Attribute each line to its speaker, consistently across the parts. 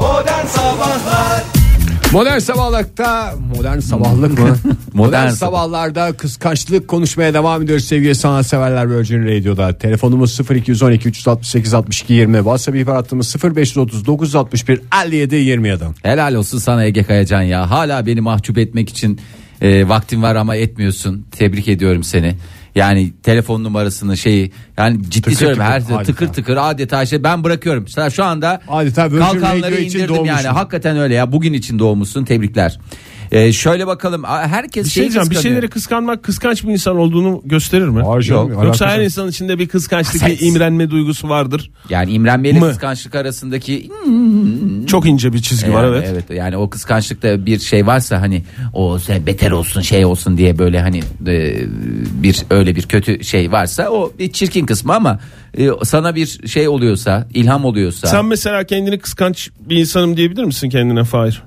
Speaker 1: Modern Sabahlar
Speaker 2: Modern sabahlıkta modern sabahlık mı? modern
Speaker 3: Modern sabah.
Speaker 2: sabahlarda kıskançlık konuşmaya devam ediyoruz sevgili sanatseverler Virgin Radio'da. Telefonumuz 0212 368 62 20. WhatsApp ihbar hattımız 0530 961 57 27.
Speaker 3: Helal olsun sana Ege Kayacan ya. Hala beni mahcup etmek için e, vaktin var ama etmiyorsun. Tebrik ediyorum seni. Yani telefon numarasını şeyi yani ciddi
Speaker 2: Tıkır
Speaker 3: söylüyorum
Speaker 2: tıkır,
Speaker 3: her
Speaker 2: adeta.
Speaker 3: tıkır tıkır adeta şey ben bırakıyorum. Sen şu anda
Speaker 2: Adeta Virgin
Speaker 3: kalkanları
Speaker 2: Radio için
Speaker 3: indirdim yani.
Speaker 2: doğmuşsun.
Speaker 3: Hakikaten öyle ya. Bugün için doğmuşsun. Tebrikler. E, şöyle bakalım. A- Herkes
Speaker 4: Bir şey
Speaker 3: şeyi
Speaker 4: diyeceğim bir
Speaker 3: kıskanıyor.
Speaker 4: şeyleri kıskanmak kıskanç bir insan olduğunu gösterir mi?
Speaker 2: Hayır canım,
Speaker 4: Yok. Yoksa her
Speaker 2: alakası-
Speaker 4: insanın içinde bir kıskançlık bir
Speaker 3: Ses.
Speaker 4: imrenme duygusu vardır.
Speaker 3: Yani imrenmeyle
Speaker 4: Mı?
Speaker 3: kıskançlık arasındaki
Speaker 4: Çok ince bir çizgi var
Speaker 3: Yani
Speaker 4: Hmm. evet.
Speaker 3: yani o kıskançlıkta bir şey varsa hani o sen beter olsun şey olsun diye böyle hani e, bir öyle bir kötü şey varsa o bir çirkin kısmı ama e, sana bir şey oluyorsa ilham oluyorsa
Speaker 4: Sen mesela kendini kıskanç bir insanım diyebilir misin kendine Fahir?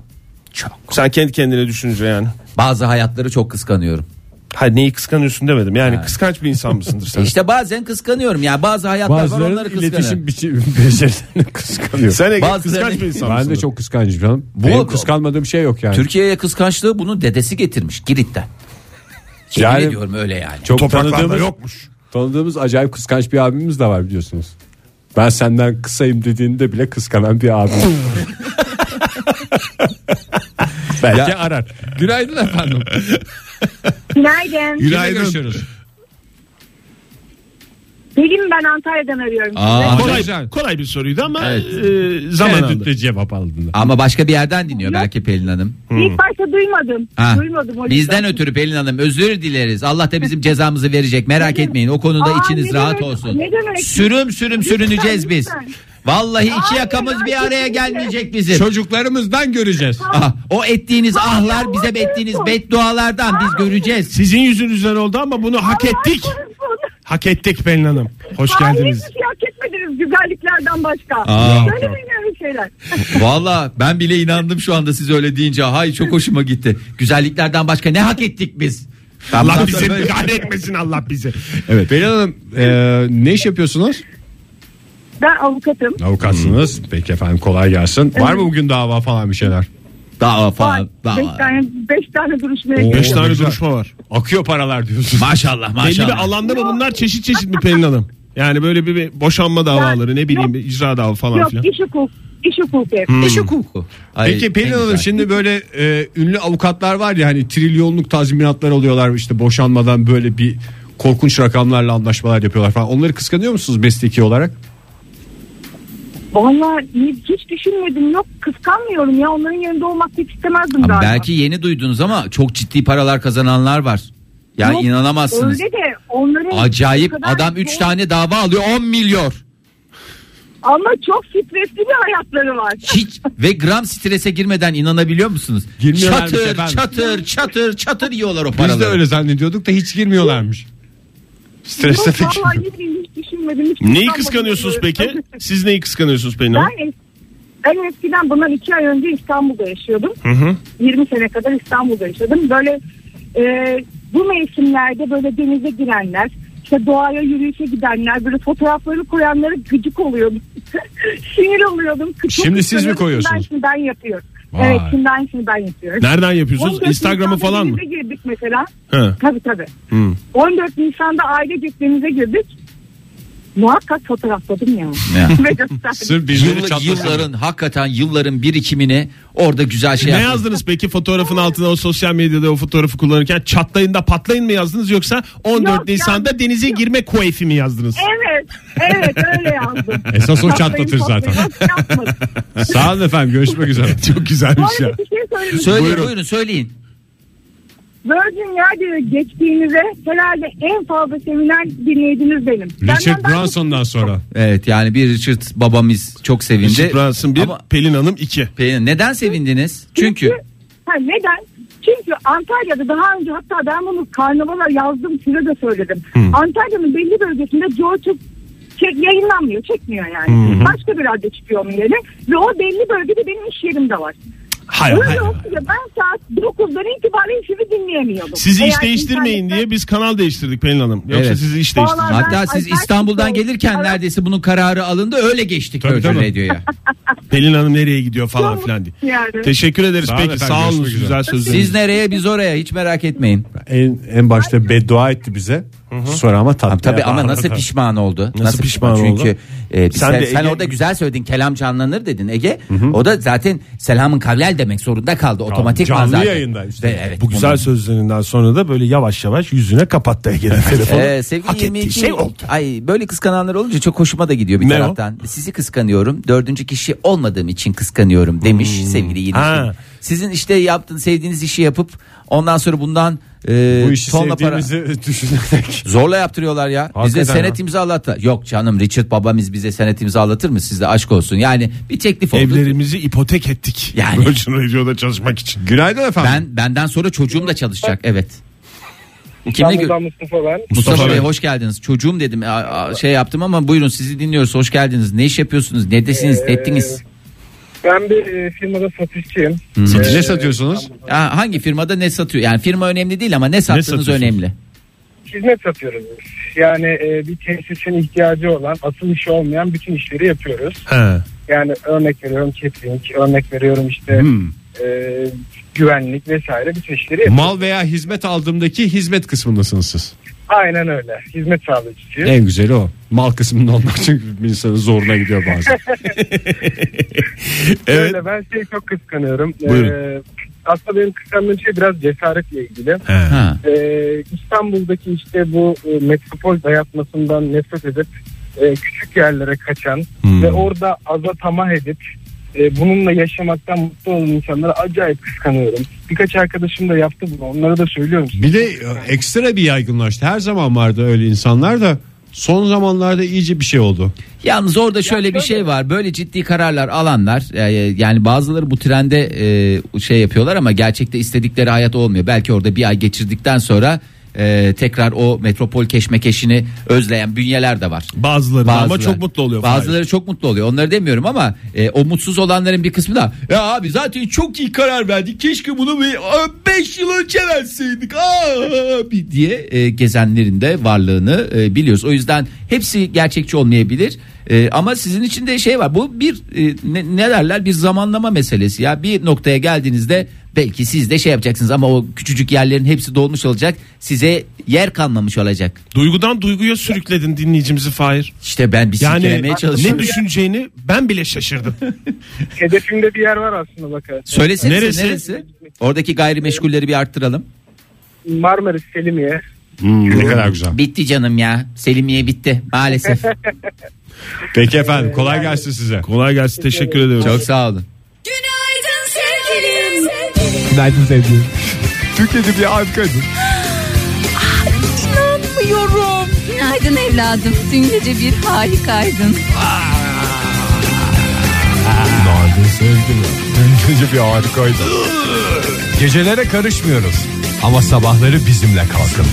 Speaker 3: çok
Speaker 4: Sen kendi kendine düşünce yani.
Speaker 3: bazı hayatları çok kıskanıyorum.
Speaker 4: Hayır neyi kıskanıyorsun demedim. Yani kıskanç bir insan mısındır
Speaker 3: E
Speaker 4: sen?
Speaker 3: İşte bazen kıskanıyorum ya bazı hayatlar var
Speaker 2: Bazıları
Speaker 3: onları kıskanıyorum.
Speaker 2: iletişim biçim becerilerini kıskanıyor.
Speaker 4: sen Ege,
Speaker 3: Bazılarını-
Speaker 4: kıskanç bir insan
Speaker 2: ben
Speaker 4: mısındır?
Speaker 2: de çok kıskancım canım. Benim kıskanmadığım şey yok yani.
Speaker 3: Türkiye'ye kıskançlığı bunu dedesi getirmiş Girit'ten. Yemin
Speaker 2: Yani-
Speaker 3: ediyorum öyle yani.
Speaker 2: çok
Speaker 4: Topraklarda
Speaker 2: tanıdığımız,
Speaker 4: yokmuş.
Speaker 2: tanıdığımız acayip kıskanç bir abimiz de var biliyorsunuz. Ben senden kısayım dediğinde bile kıskanan bir abim. Belki arar. Günaydın efendim.
Speaker 5: Günaydın.
Speaker 2: Günaydın. Görüşürüz.
Speaker 5: Pelin ben Antalya'dan arıyorum.
Speaker 3: Aa,
Speaker 4: Kolay, kolay bir soruydu ama
Speaker 3: Evet.
Speaker 4: e, zaman aldı.
Speaker 2: cevap aldın.
Speaker 3: ama başka bir yerden dinliyor belki Pelin Hanım.
Speaker 5: İlk başta duymadım.
Speaker 3: Ha.
Speaker 5: Duymadım o
Speaker 3: Bizden
Speaker 5: yüzden.
Speaker 3: ötürü Pelin Hanım özür dileriz. Allah da bizim cezamızı verecek. Merak etmeyin. O konuda
Speaker 5: Aa,
Speaker 3: içiniz
Speaker 5: ne
Speaker 3: rahat
Speaker 5: demek-
Speaker 3: olsun.
Speaker 5: ne demek?
Speaker 3: Sürüm sürüm
Speaker 5: Lütfen,
Speaker 3: sürüneceğiz biz.
Speaker 5: lütfen.
Speaker 3: Vallahi iki
Speaker 5: Aa,
Speaker 3: yakamız
Speaker 5: merak
Speaker 3: bir araya
Speaker 5: etmeyin.
Speaker 3: gelmeyecek bizim.
Speaker 2: Çocuklarımızdan göreceğiz.
Speaker 3: Ah, o ettiğiniz ahlar
Speaker 5: Allah
Speaker 3: bize ettiğiniz
Speaker 5: korusun.
Speaker 3: beddualardan biz göreceğiz.
Speaker 4: Sizin yüzünüzden oldu ama bunu hak ettik.
Speaker 5: Allah korusun.
Speaker 4: Hak ettik Pelin Hanım. Hoş
Speaker 5: Hayır,
Speaker 4: geldiniz.
Speaker 5: Hiçbir şey hak etmediniz güzelliklerden başka.
Speaker 3: Aa.
Speaker 5: Söylemeyin öyle şeyler.
Speaker 3: Valla ben bile inandım şu anda siz öyle deyince. Hay çok hoşuma gitti. Güzelliklerden başka ne hak ettik biz?
Speaker 4: Allah bizi kahretmesin Allah bizi.
Speaker 2: Evet. Pelin Hanım e, ne iş yapıyorsunuz?
Speaker 5: Ben avukatım.
Speaker 2: Avukatsınız. Peki efendim kolay gelsin. Var mı bugün dava falan bir şeyler?
Speaker 3: Dava
Speaker 5: Var.
Speaker 3: falan. dava.
Speaker 5: Beş tane, beş tane duruşmaya
Speaker 2: Oo.
Speaker 4: Beş tane
Speaker 2: güzel.
Speaker 4: duruşma var.
Speaker 2: Akıyor paralar diyorsun.
Speaker 3: Maşallah
Speaker 4: Belli
Speaker 3: maşallah.
Speaker 4: bir alanda mı bunlar çeşit çeşit mi Pelin Hanım? Yani böyle bir, bir boşanma davaları ne bileyim bir icra dava falan
Speaker 5: Yok
Speaker 4: filan.
Speaker 5: iş hukuk. İş hukuku hep.
Speaker 3: İş hukuku. Ay,
Speaker 2: Peki Pelin
Speaker 3: en
Speaker 2: Hanım
Speaker 3: güzel.
Speaker 2: şimdi böyle e, ünlü avukatlar var ya hani trilyonluk tazminatlar alıyorlar işte boşanmadan böyle bir korkunç rakamlarla anlaşmalar yapıyorlar falan. Onları kıskanıyor musunuz mesleki olarak?
Speaker 5: Vallahi hiç düşünmedim. Yok kıskanmıyorum ya. Onların yanında olmak pek istemezdim
Speaker 3: Ama
Speaker 5: galiba.
Speaker 3: Belki yeni duydunuz ama çok ciddi paralar kazananlar var. Yani
Speaker 5: Yok,
Speaker 3: inanamazsınız.
Speaker 5: Öyle de onların
Speaker 3: Acayip
Speaker 5: o kadar
Speaker 3: adam 3
Speaker 5: zor-
Speaker 3: tane dava alıyor 10 milyon.
Speaker 5: Ama çok stresli bir hayatları var.
Speaker 3: Hiç ve gram strese girmeden inanabiliyor musunuz?
Speaker 2: Girmiyorlarmış
Speaker 3: Çatır
Speaker 2: şey efendim.
Speaker 3: çatır çatır çatır yiyorlar o
Speaker 2: Biz
Speaker 3: paraları.
Speaker 2: de öyle zannediyorduk da hiç girmiyorlarmış. Strese
Speaker 5: Yok
Speaker 2: de
Speaker 5: vallahi ne bileyim, hiç düşünmedim. Hiç
Speaker 4: Neyi
Speaker 5: kıskanmadım.
Speaker 4: kıskanıyorsunuz peki? Siz neyi kıskanıyorsunuz Pelin Hanım?
Speaker 5: Ben, es- ben eskiden bundan iki ay önce İstanbul'da yaşıyordum.
Speaker 4: Hı hı.
Speaker 5: 20 sene kadar İstanbul'da yaşadım. Böyle e, bu mevsimlerde böyle denize girenler, işte doğaya yürüyüşe gidenler, böyle fotoğrafları koyanlara gıcık oluyordum. Sinir oluyordum. Çok
Speaker 2: Şimdi siz mi
Speaker 5: kıskanıyorum.
Speaker 2: koyuyorsunuz?
Speaker 5: Şimdi ben, şimdi ben yapıyorum.
Speaker 2: Vay.
Speaker 5: Evet şimdi ben şimdi ben yapıyorum.
Speaker 4: Nereden yapıyorsunuz?
Speaker 5: 14
Speaker 4: Instagram'ı
Speaker 5: Nisan'da
Speaker 4: falan mı?
Speaker 5: denize girdik mesela.
Speaker 4: He.
Speaker 5: Tabii tabii.
Speaker 4: Hı.
Speaker 5: 14 Nisan'da ailecek denize girdik. Muhakkak fotoğrafladım ya.
Speaker 3: Ya.
Speaker 5: Ve gösterdim.
Speaker 2: Sırf birileri
Speaker 3: Yıllı-
Speaker 2: çatlasın.
Speaker 3: yılların hakikaten yılların birikimini orada güzel şey
Speaker 4: Ne
Speaker 3: yapmış.
Speaker 4: yazdınız peki fotoğrafın altına o sosyal medyada o fotoğrafı kullanırken çatlayın da patlayın mı yazdınız yoksa 14
Speaker 5: Yok,
Speaker 4: Nisan'da
Speaker 5: yani-
Speaker 4: denize girme koefi mi yazdınız?
Speaker 5: Evet, evet öyle yazdım.
Speaker 2: Esas o
Speaker 5: Patlayın,
Speaker 2: çatlatır zaten.
Speaker 5: patlayın, yapmadım.
Speaker 2: Sağ olun efendim görüşmek üzere. Çok
Speaker 5: Bu
Speaker 2: güzelmiş
Speaker 5: arada bir şey söylemek
Speaker 3: Söyleyin
Speaker 5: istiyorum.
Speaker 3: buyurun. söyleyin.
Speaker 5: Virgin Radio'ya geçtiğinize herhalde en fazla sevilen dinleyiciniz benim.
Speaker 2: Richard
Speaker 5: Benden daha-
Speaker 2: Branson'dan sonra.
Speaker 3: Evet yani bir Richard babamız çok sevindi.
Speaker 4: Richard Branson bir,
Speaker 3: Ama
Speaker 4: Pelin Hanım iki.
Speaker 3: Pelin- neden sevindiniz? Çünkü
Speaker 5: Ha, neden? Çünkü Antalya'da daha önce hatta ben bunu karnavala yazdım size de söyledim. Antalya'nın belli bölgesinde George çek, yayınlanmıyor çekmiyor yani. Başka bir radyo çıkıyor onun yerine. Ve o belli bölgede benim iş yerim de var.
Speaker 4: Hayır,
Speaker 5: Öyle
Speaker 4: hayır,
Speaker 5: olsun
Speaker 4: hayır.
Speaker 5: ya ben saat 9'dan itibaren hiçbir dinleyemiyordum.
Speaker 4: Sizi
Speaker 5: Eğer
Speaker 4: iş değiştirmeyin
Speaker 5: internetten-
Speaker 4: diye biz kanal değiştirdik Pelin Hanım. Yoksa
Speaker 3: Evet.
Speaker 4: sizi iş
Speaker 5: Vallahi
Speaker 4: değiştirdik.
Speaker 5: ben-
Speaker 3: Hatta siz
Speaker 5: Ay, ben
Speaker 3: İstanbul'dan
Speaker 5: çok-
Speaker 3: gelirken neredeyse bunun kararı alındı öyle geçtik
Speaker 4: Tabii,
Speaker 3: Virgin
Speaker 4: tabii.
Speaker 3: Radio'ya.
Speaker 4: Pelin Hanım nereye gidiyor falan
Speaker 5: Yok,
Speaker 4: filan diye.
Speaker 5: yani.
Speaker 4: Teşekkür ederiz
Speaker 1: Sağ olun
Speaker 4: peki
Speaker 1: efendim,
Speaker 4: sağ olun
Speaker 1: görüşmek üzere.
Speaker 4: güzel sözleriniz.
Speaker 3: Siz nereye biz oraya hiç merak etmeyin.
Speaker 2: En, en başta beddua etti bize. Sonra ama tatlı.
Speaker 3: Tabii
Speaker 2: yaptı.
Speaker 3: ama nasıl pişman oldu? Nasıl,
Speaker 4: pişman
Speaker 3: Çünkü
Speaker 4: oldu?
Speaker 3: e, biz-
Speaker 4: Sen
Speaker 3: sen,
Speaker 4: de
Speaker 3: sen
Speaker 4: Ege-
Speaker 3: orada güzel söyledin. Kelam canlanır dedin Ege. O da zaten selamın kavlel demek zorunda kaldı otomatik
Speaker 2: canlı
Speaker 3: zaten.
Speaker 2: yayında işte.
Speaker 3: Ve evet,
Speaker 1: Bu güzel
Speaker 3: onu-
Speaker 1: sözlerinden sonra da böyle yavaş yavaş yüzüne kapattı Ege'nin telefonu.
Speaker 3: Ee, sevgili
Speaker 1: Hak ettiği
Speaker 3: 22
Speaker 1: şey oldu.
Speaker 3: Ay böyle kıskananlar olunca çok hoşuma da gidiyor bir
Speaker 4: Ne o?
Speaker 3: taraftan. Sizi kıskanıyorum. Dördüncü kişi olmadığım için kıskanıyorum demiş sevgili 22.
Speaker 4: Ha.
Speaker 3: Sizin işte yaptığın sevdiğiniz işi yapıp ondan sonra bundan e,
Speaker 2: Bu işi
Speaker 3: tonla para
Speaker 2: sevdiğimizi düşünerek.
Speaker 3: Zorla yaptırıyorlar ya. bize
Speaker 1: Hakikaten
Speaker 3: senet imzalattı. Yok canım Richard babamız bize senet imzalatır mı? Sizde aşk olsun. Yani bir teklif oldu.
Speaker 4: Evlerimizi ipotek ettik.
Speaker 3: Yani.
Speaker 4: Virgin Radio'da çalışmak için.
Speaker 2: Günaydın efendim.
Speaker 3: Ben benden sonra çocuğum da çalışacak. Evet. Kimle gö-
Speaker 6: İstanbul'dan Mustafa ben.
Speaker 3: Mustafa,
Speaker 4: Mustafa
Speaker 3: Bey
Speaker 4: Bey.
Speaker 3: hoş geldiniz. Çocuğum dedim a- a- şey yaptım ama buyurun sizi dinliyoruz. Hoş geldiniz. Ne iş yapıyorsunuz? Nedesiniz? Ne ettiniz?
Speaker 6: Ben bir e, firmada satışçıyım.
Speaker 2: Size satıyorsunuz.
Speaker 3: Ha, hangi firmada ne satıyor? Yani firma önemli değil ama ne sattığınız
Speaker 4: satıyorsunuz?
Speaker 3: önemli.
Speaker 6: Hizmet satıyoruz biz. Yani e, bir tesisin ihtiyacı olan, asıl işi olmayan bütün işleri yapıyoruz.
Speaker 4: He.
Speaker 6: Yani örnek veriyorum catering, örnek veriyorum işte
Speaker 4: Hmm.
Speaker 6: e, güvenlik vesaire bütün işleri yapıyoruz.
Speaker 2: Mal veya hizmet aldığımdaki hizmet kısmındasınız siz.
Speaker 6: Aynen öyle. Hizmet
Speaker 4: E,
Speaker 6: sağlayıcısıyız.
Speaker 2: En güzeli o. Mal kısmında olmak çünkü bir insanın zoruna gidiyor bazen.
Speaker 4: Evet.
Speaker 6: Öyle ben şeyi çok kıskanıyorum.
Speaker 4: Buyurun.
Speaker 6: E, aslında benim kıskandığım şey biraz cesaretle ilgili.
Speaker 4: He.
Speaker 3: Ha.
Speaker 6: Ee, İstanbul'daki işte bu e, metropol dayatmasından nefret edip e, küçük yerlere kaçan ve orada aza tamah edip e, bununla yaşamaktan mutlu olan insanlara acayip kıskanıyorum. Birkaç arkadaşım da yaptı bunu. Onlara da söylüyorum.
Speaker 2: Bir de e, ekstra bir yaygınlaştı. Her zaman vardı öyle insanlar da son zamanlarda iyice bir şey oldu.
Speaker 3: Yalnız orada şöyle bir şey var. Böyle ciddi kararlar alanlar e, yani bazıları bu trende e, şey yapıyorlar ama gerçekte istedikleri hayat olmuyor. Belki orada bir ay geçirdikten sonra e, tekrar o metropol keşmekeşini özleyen bünyeler de var.
Speaker 4: Bazıları, da ama
Speaker 3: Bazıları.
Speaker 4: çok mutlu oluyor.
Speaker 3: Bazıları
Speaker 4: Fahir.
Speaker 3: çok mutlu oluyor. Onları demiyorum ama e, o mutsuz olanların bir kısmı da ya abi zaten çok iyi karar verdik. Keşke bunu 5 yıl önce verseydik. Abi diye e, gezenlerin de varlığını e, biliyoruz. O yüzden hepsi gerçekçi olmayabilir. E, ama sizin için de şey var. Bu bir e, ne, ne derler bir zamanlama meselesi ya. Bir noktaya geldiğinizde belki siz de şey yapacaksınız ama o küçücük yerlerin hepsi dolmuş olacak. Size yer kalmamış olacak.
Speaker 4: Duygudan duyguya sürükledin dinleyicimizi Fahir.
Speaker 3: İşte ben bir
Speaker 4: Yani
Speaker 3: silkelemeye
Speaker 4: ne
Speaker 3: çalışıyorum.
Speaker 4: düşüneceğini ben bile şaşırdım.
Speaker 6: Hedefimde bir yer var aslında bakın.
Speaker 3: Söylesene neresi?
Speaker 4: Neresi?
Speaker 3: neresi? Oradaki gayrimeşgulleri bir arttıralım.
Speaker 6: Marmaris Selimiye.
Speaker 2: Ne kadar güzel.
Speaker 3: Bitti canım ya. Selimiye bitti maalesef.
Speaker 2: Peki efendim kolay gelsin size.
Speaker 4: Kolay gelsin teşekkür ediyorum.
Speaker 3: Çok sağ olun.
Speaker 7: Günaydın sevgilim.
Speaker 2: Günaydın sevgilim. Türkiye'de bir harikaydın.
Speaker 7: İnanmıyorum. Günaydın evladım. Dün gece bir harikaydın.
Speaker 2: Günaydın sevgilim. Dün gece bir harikaydın. Gecelere karışmıyoruz. Ama sabahları bizimle kalkın.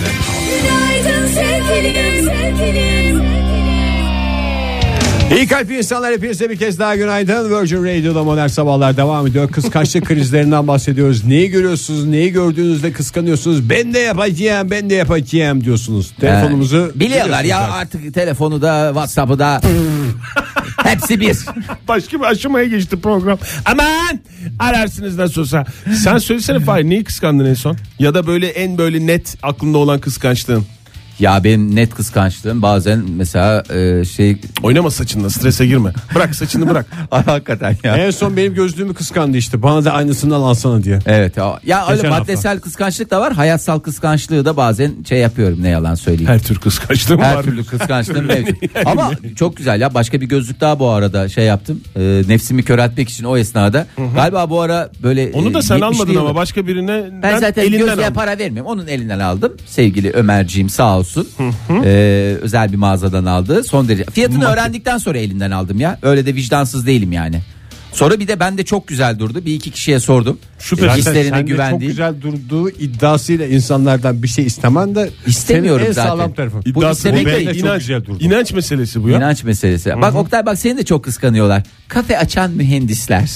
Speaker 7: Günaydın sevgilim. Sevgilim.
Speaker 2: İyi kalp insanlar hepinize bir kez daha günaydın. Virgin Radio'da modern sabahlar devam ediyor. Kıskançlık krizlerinden bahsediyoruz. Neyi görüyorsunuz, neyi gördüğünüzde kıskanıyorsunuz. Ben de yapacağım, ben de yapacağım diyorsunuz. Telefonumuzu
Speaker 3: Ee, biliyorlar ya
Speaker 2: biliyorsunuz
Speaker 3: artık telefonu da WhatsApp'ı da hepsi bir.
Speaker 4: Başka bir aşamaya geçti program. Aman ararsınız nasıl olsa. Sen söylesene Fahir neyi kıskandın en son? Ya da böyle en böyle net aklında olan kıskançlığın.
Speaker 3: Ya benim net kıskançlığım bazen mesela e, şey
Speaker 4: Oynama saçınla strese girme. Bırak saçını bırak.
Speaker 3: Ay, hakikaten
Speaker 2: zaten.
Speaker 3: ya.
Speaker 2: En son benim gözlüğümü kıskandı işte. Bana da aynısından alsana diye.
Speaker 3: Evet ya, ya öyle
Speaker 2: Geçen hafta.
Speaker 3: maddesel kıskançlık da var hayatsal kıskançlığı da bazen şey yapıyorum ne yalan söyleyeyim.
Speaker 4: Her tür kıskançlığım
Speaker 3: Her
Speaker 4: var.
Speaker 3: türlü kıskançlığım mevcut. Ama çok güzel ya başka bir gözlük daha bu arada şey yaptım. Ee, nefsimi köreltmek için o esnada. Galiba bu ara böyle...
Speaker 4: Onu da
Speaker 3: e,
Speaker 4: sen
Speaker 3: 70'li
Speaker 4: almadın ama
Speaker 3: yıllar-
Speaker 4: başka birine
Speaker 3: Ben zaten
Speaker 4: elinden
Speaker 3: gözlüğe
Speaker 4: aldım.
Speaker 3: para vermiyorum. Onun elinden aldım. Sevgili Ömerciğim sağ olsun. Ee, özel bir mağazadan aldı. Son derece. Fiyatını öğrendikten sonra elinden aldım ya. Öyle de vicdansız değilim yani. Sonra bir de bende çok güzel durdu. Bir iki kişiye sordum.
Speaker 4: Süper.
Speaker 3: Ee,
Speaker 2: Zaten
Speaker 3: Hislerine
Speaker 2: sen de çok
Speaker 3: güvendiğim.
Speaker 2: güzel durduğu iddiasıyla insanlardan bir şey istemen de
Speaker 3: İstemiyorum
Speaker 2: senin en
Speaker 3: zaten.
Speaker 2: sağlam tarafın.
Speaker 3: Bu
Speaker 4: İddiası bu
Speaker 3: istemek
Speaker 4: değil.
Speaker 3: de
Speaker 2: çok
Speaker 4: İnanç,
Speaker 2: güzel durdu.
Speaker 4: inanç meselesi bu ya.
Speaker 3: İnanç meselesi. Bak Oktay bak seni de çok kıskanıyorlar. Kafe açan mühendisler.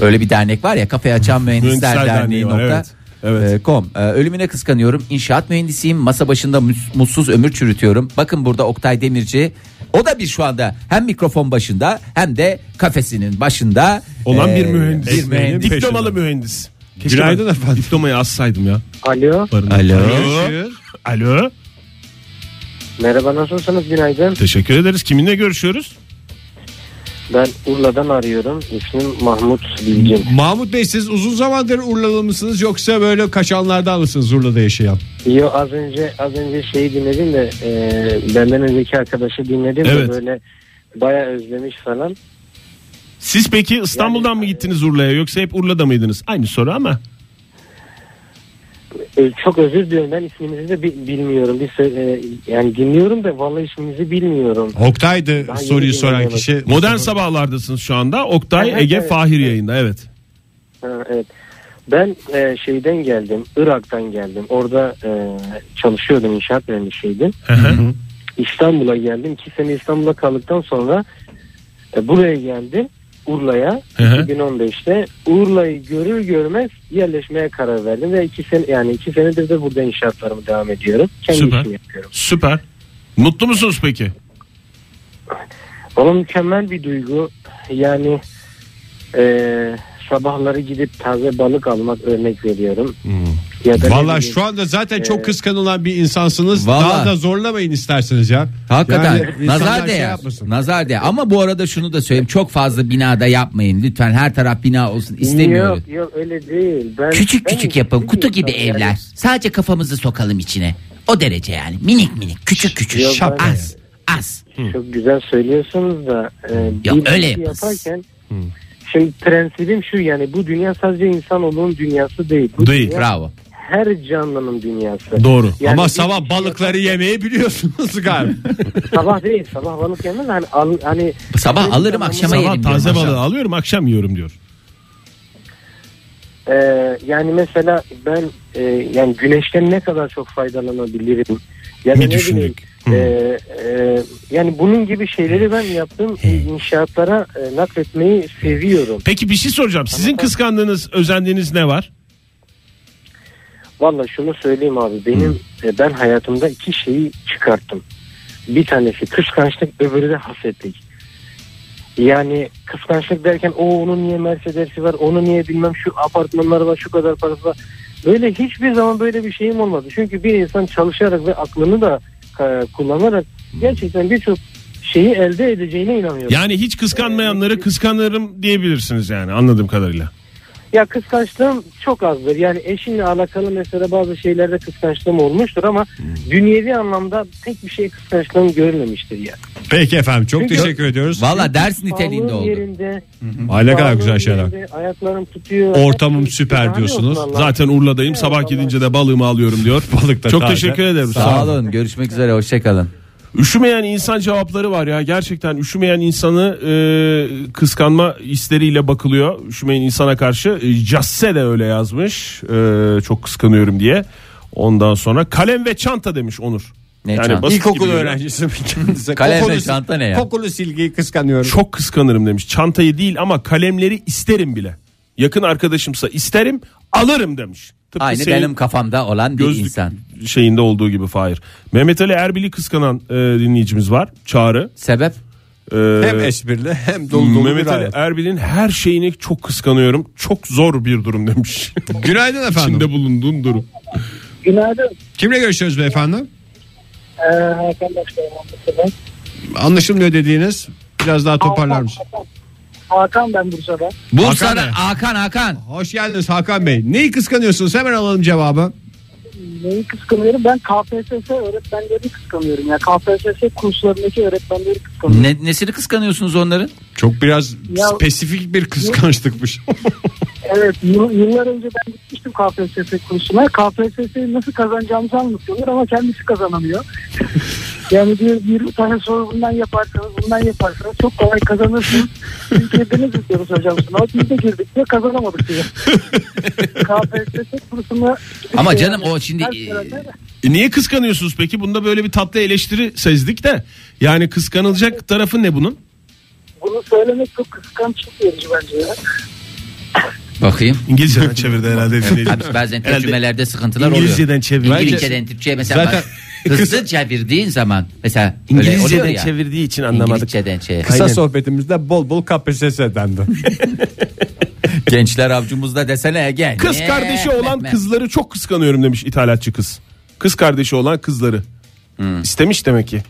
Speaker 3: Öyle bir dernek var ya kafayı açan mühendisler
Speaker 4: Mühendisler Derneği
Speaker 3: derneği
Speaker 4: var,
Speaker 3: nokta.
Speaker 4: evet. Evet.
Speaker 3: e, com. E, ölümüne kıskanıyorum. İnşaat mühendisiyim. Masa başında mus- mutsuz ömür çürütüyorum. Bakın burada Oktay Demirci. O da bir şu anda hem mikrofon başında hem de kafesinin başında
Speaker 4: Olan
Speaker 3: e,
Speaker 4: bir mühendis.
Speaker 3: bir mühendis.
Speaker 4: Diplomalı mühendis. Keşke
Speaker 2: Günaydın
Speaker 4: ben
Speaker 2: efendim.
Speaker 4: Diplomayı assaydım ya.
Speaker 6: Alo.
Speaker 3: Alo.
Speaker 4: Alo. Alo.
Speaker 6: Merhaba nasılsınız günaydın.
Speaker 4: Teşekkür ederiz. Kiminle görüşüyoruz?
Speaker 6: Ben Urla'dan arıyorum. İsmim Mahmut Bilgin.
Speaker 2: Mahmut Bey siz uzun zamandır Urlalı mısınız yoksa böyle kaçanlardan mısınız Urla'da yaşayan?
Speaker 6: Yo az önce az önce şeyi dinledim de e, benden önceki arkadaşı dinledim
Speaker 4: Evet.
Speaker 6: de böyle baya özlemiş falan.
Speaker 4: Siz peki İstanbul'dan
Speaker 6: Yani-
Speaker 4: mı gittiniz Urla'ya yoksa hep Urla'da mıydınız? Aynı soru ama.
Speaker 6: E, çok özür diliyorum ben isminizi de bi- bilmiyorum. Bir se- e, yani dinliyorum da vallahi isminizi bilmiyorum.
Speaker 2: Oktay'dı
Speaker 6: Ben
Speaker 2: soruyu
Speaker 6: yeni
Speaker 2: soran
Speaker 6: dinliyorum.
Speaker 2: kişi.
Speaker 4: Modern sabahlardasınız şu anda. Oktay,
Speaker 6: Evet,
Speaker 4: Ege,
Speaker 6: evet.
Speaker 4: Fahir yayında. Evet.
Speaker 6: Ha, evet. Ben e, şeyden geldim, Irak'tan geldim. Orada e, çalışıyordum inşaat mühendisiydim. İstanbul'a geldim. İki sene İstanbul'a kaldıktan sonra e, buraya geldim. Urla'ya
Speaker 4: Hı hı.
Speaker 6: 2015'te Urla'yı görür görmez yerleşmeye karar verdim ve iki sene yani iki senedir de burada inşaatlarımı devam ediyorum. Kendi
Speaker 4: Süper.
Speaker 6: işimi yapıyorum.
Speaker 4: Süper. Mutlu musunuz peki?
Speaker 6: Ama mükemmel bir duygu. Yani e, sabahları gidip taze balık almak örnek veriyorum. Ya da ne
Speaker 2: Valla
Speaker 6: bileyim,
Speaker 2: şu anda zaten çok
Speaker 6: Ee,
Speaker 2: kıskanılan bir insansınız.
Speaker 3: Vallahi.
Speaker 2: Daha da zorlamayın isterseniz ya.
Speaker 3: Hakikaten
Speaker 2: Yani insanlar
Speaker 3: nazar
Speaker 2: şey
Speaker 3: değer.
Speaker 2: yapmasın.
Speaker 3: nazar değer. Ama bu arada şunu da söyleyeyim. Çok fazla binada yapmayın. Lütfen her taraf bina olsun istemiyoruz.
Speaker 6: Yok yok öyle değil. Ben,
Speaker 3: Küçük
Speaker 6: ben
Speaker 3: küçük yapın.
Speaker 6: bir
Speaker 3: Kutu gibi
Speaker 6: insanım yani.
Speaker 3: evler. Sadece kafamızı sokalım içine. O derece yani. Minik minik, küçük küçük.
Speaker 6: Yok,
Speaker 3: Şap-
Speaker 6: ben-
Speaker 3: az, az.
Speaker 6: Çok güzel söylüyorsunuz da e,
Speaker 3: Ya
Speaker 6: bir
Speaker 3: öyle
Speaker 6: işi
Speaker 3: yapız.
Speaker 6: yaparken şimdi prensibim şu yani bu dünya sadece insanoğlunun dünyası değil. Bu
Speaker 4: Değil.
Speaker 6: dünya
Speaker 3: Bravo.
Speaker 6: her canlının dünyası.
Speaker 4: Doğru.
Speaker 6: Yani
Speaker 2: Ama
Speaker 6: bir
Speaker 2: sabah
Speaker 6: işi
Speaker 2: balıkları
Speaker 6: yaparken-
Speaker 2: yemeyi biliyorsunuz galiba.
Speaker 6: Sabah değil sabah balık yemez hani, al, hani
Speaker 3: Sabah alırım akşama
Speaker 4: Sabah
Speaker 3: yerim.
Speaker 4: taze
Speaker 3: diyorum.
Speaker 4: balığı alıyorum akşam yiyorum diyor.
Speaker 6: e, yani mesela ben e, yani güneşten ne kadar çok faydalanabilirim. Yani
Speaker 4: Bir
Speaker 6: ne bileyim,
Speaker 4: düşündük.
Speaker 6: e, e, yani bunun gibi şeyleri ben yaptığım inşaatlara e, nakletmeyi seviyorum.
Speaker 4: Peki bir şey soracağım. Sizin kıskandığınız, özendiğiniz ne var?
Speaker 6: Valla şunu söyleyeyim abi benim e, ben hayatımda iki şeyi çıkarttım. Bir tanesi kıskançlık öbürü de hasetlik. Yani kıskançlık derken o onun niye Mercedes'i var onu niye bilmem şu apartmanları var şu kadar parası var. Böyle hiçbir zaman böyle bir şeyim olmadı. Çünkü bir insan çalışarak ve aklını da e, kullanarak gerçekten birçok şeyi elde edeceğine inanıyorum.
Speaker 4: Yani hiç kıskanmayanları kıskanırım diyebilirsiniz yani anladığım kadarıyla.
Speaker 6: Ya kıskançlığım çok azdır. Yani eşinle alakalı mesela bazı şeylerde kıskançlığım olmuştur ama
Speaker 2: Hmm.
Speaker 6: dünyevi anlamda pek bir şey kıskançlığım görmemiştir yani.
Speaker 2: Peki efendim çok
Speaker 6: Çünkü-
Speaker 2: teşekkür ediyoruz.
Speaker 3: Valla ders niteliğinde
Speaker 6: Sağlığım
Speaker 3: oldu.
Speaker 6: yerinde.
Speaker 2: Ay ne kadar
Speaker 6: sağlığım
Speaker 2: güzel şeyler.
Speaker 6: yerinde, Ayaklarım tutuyor.
Speaker 2: Ortamım
Speaker 6: Her
Speaker 2: süper
Speaker 6: şey-
Speaker 2: diyorsunuz.
Speaker 6: Allah'ım.
Speaker 4: Zaten Urla'dayım
Speaker 6: Evet,
Speaker 4: sabah
Speaker 6: vallahi.
Speaker 4: gidince de balığımı alıyorum diyor.
Speaker 2: Balık da
Speaker 4: Çok
Speaker 2: taze.
Speaker 4: teşekkür ederim.
Speaker 3: Sağ olun. Görüşmek üzere. Hoşçakalın.
Speaker 4: Üşümeyen insan cevapları var ya gerçekten üşümeyen insanı e, kıskanma hisleriyle bakılıyor. Üşümeyen insana karşı e, Casse de öyle yazmış e, çok kıskanıyorum diye. Ondan sonra kalem ve çanta demiş Onur.
Speaker 3: Ne çanta?
Speaker 4: basit
Speaker 2: İlkokul
Speaker 4: gibi görünüyor.
Speaker 2: öğrencisi bir kendisi.
Speaker 3: Kalem
Speaker 2: Kokulu-
Speaker 3: ve çanta ne ya?
Speaker 2: Kokulu silgiyi kıskanıyorum.
Speaker 4: Çok kıskanırım demiş. Çantayı değil ama kalemleri isterim bile. Yakın arkadaşımsa isterim alırım demiş. Tıpkı
Speaker 3: Aynı
Speaker 4: senin
Speaker 3: benim kafamda olan bir
Speaker 4: şey- gözlük
Speaker 3: insan.
Speaker 4: şeyinde olduğu gibi Fahir. Mehmet Ali Erbil'i kıskanan e, dinleyicimiz var. Çağrı.
Speaker 3: Sebep?
Speaker 4: E,
Speaker 2: Hem esprili hem dolu dolu
Speaker 4: Mehmet
Speaker 2: bir
Speaker 4: Ali
Speaker 2: hayat.
Speaker 4: Erbil'in her şeyini çok kıskanıyorum. Çok zor bir durum demiş.
Speaker 2: Günaydın efendim.
Speaker 4: İçinde bulunduğum durum.
Speaker 5: Günaydın.
Speaker 2: Kimle görüşüyoruz beyefendi?
Speaker 5: Ee, Hakan Başkanım. Ankara'dan.
Speaker 2: Anlaşılmıyor dediğiniz. Biraz daha toparlar mısın?
Speaker 5: Hakan ben Bursa'dan.
Speaker 3: Bursa'da
Speaker 2: Hakan Bey.
Speaker 3: Hakan Hakan.
Speaker 2: Hoş geldiniz Hakan Bey. Neyi kıskanıyorsunuz? Hemen alalım cevabı.
Speaker 5: Neyi kıskanıyorum? Ben KPSS öğretmenleri kıskanıyorum. Ya KPSS kurslarındaki öğretmenleri kıskanıyorum.
Speaker 3: Ne, nesini kıskanıyorsunuz onların?
Speaker 2: Çok biraz
Speaker 5: Ya-
Speaker 2: spesifik bir kıskançlıkmış.
Speaker 5: Evet yıl- yıllar önce ben gitmiştim KPSS kursuna. KPSS'yi nasıl kazanacağımızı anlatıyorlar ama kendisi kazanamıyor. yani diyor bir tane soru bundan yaparsanız bundan yaparsanız çok kolay kazanırsınız. Biz girdiniz diyoruz hocam sınava. Biz de girdik diyor kazanamadık diyor. KPSS kursuna
Speaker 6: Ee,
Speaker 3: Ama canım o şimdi
Speaker 5: Her sırada-
Speaker 4: E niye kıskanıyorsunuz peki? Bunda böyle bir tatlı eleştiri sezdik de. Yani kıskanılacak tarafı ne bunun?
Speaker 5: bunu söylemek çok kıskançlık verici bence ya.
Speaker 3: Bakayım.
Speaker 1: İngilizceden çevirdi herhalde dinleyici.
Speaker 3: Abi bazen tercümelerde sıkıntılar oluyor.
Speaker 1: İngilizceden çeviriyor.
Speaker 3: İngilizceden Türkçe'ye mesela
Speaker 1: Zaten-
Speaker 3: bak, hızlı çevirdiğin zaman mesela öyle oluyor
Speaker 4: İngilizceden
Speaker 3: ya.
Speaker 4: çevirdiği için anlamadık.
Speaker 3: İngilizceden çevir.
Speaker 2: Kısa
Speaker 4: Aynen.
Speaker 2: sohbetimizde bol bol KPSS dendi.
Speaker 3: Gençler avcumuzda desene gel.
Speaker 4: Kız kardeşi olan kızları çok kıskanıyorum demiş ithalatçı kız. Kız kardeşi olan kızları. İstemiş demek ki.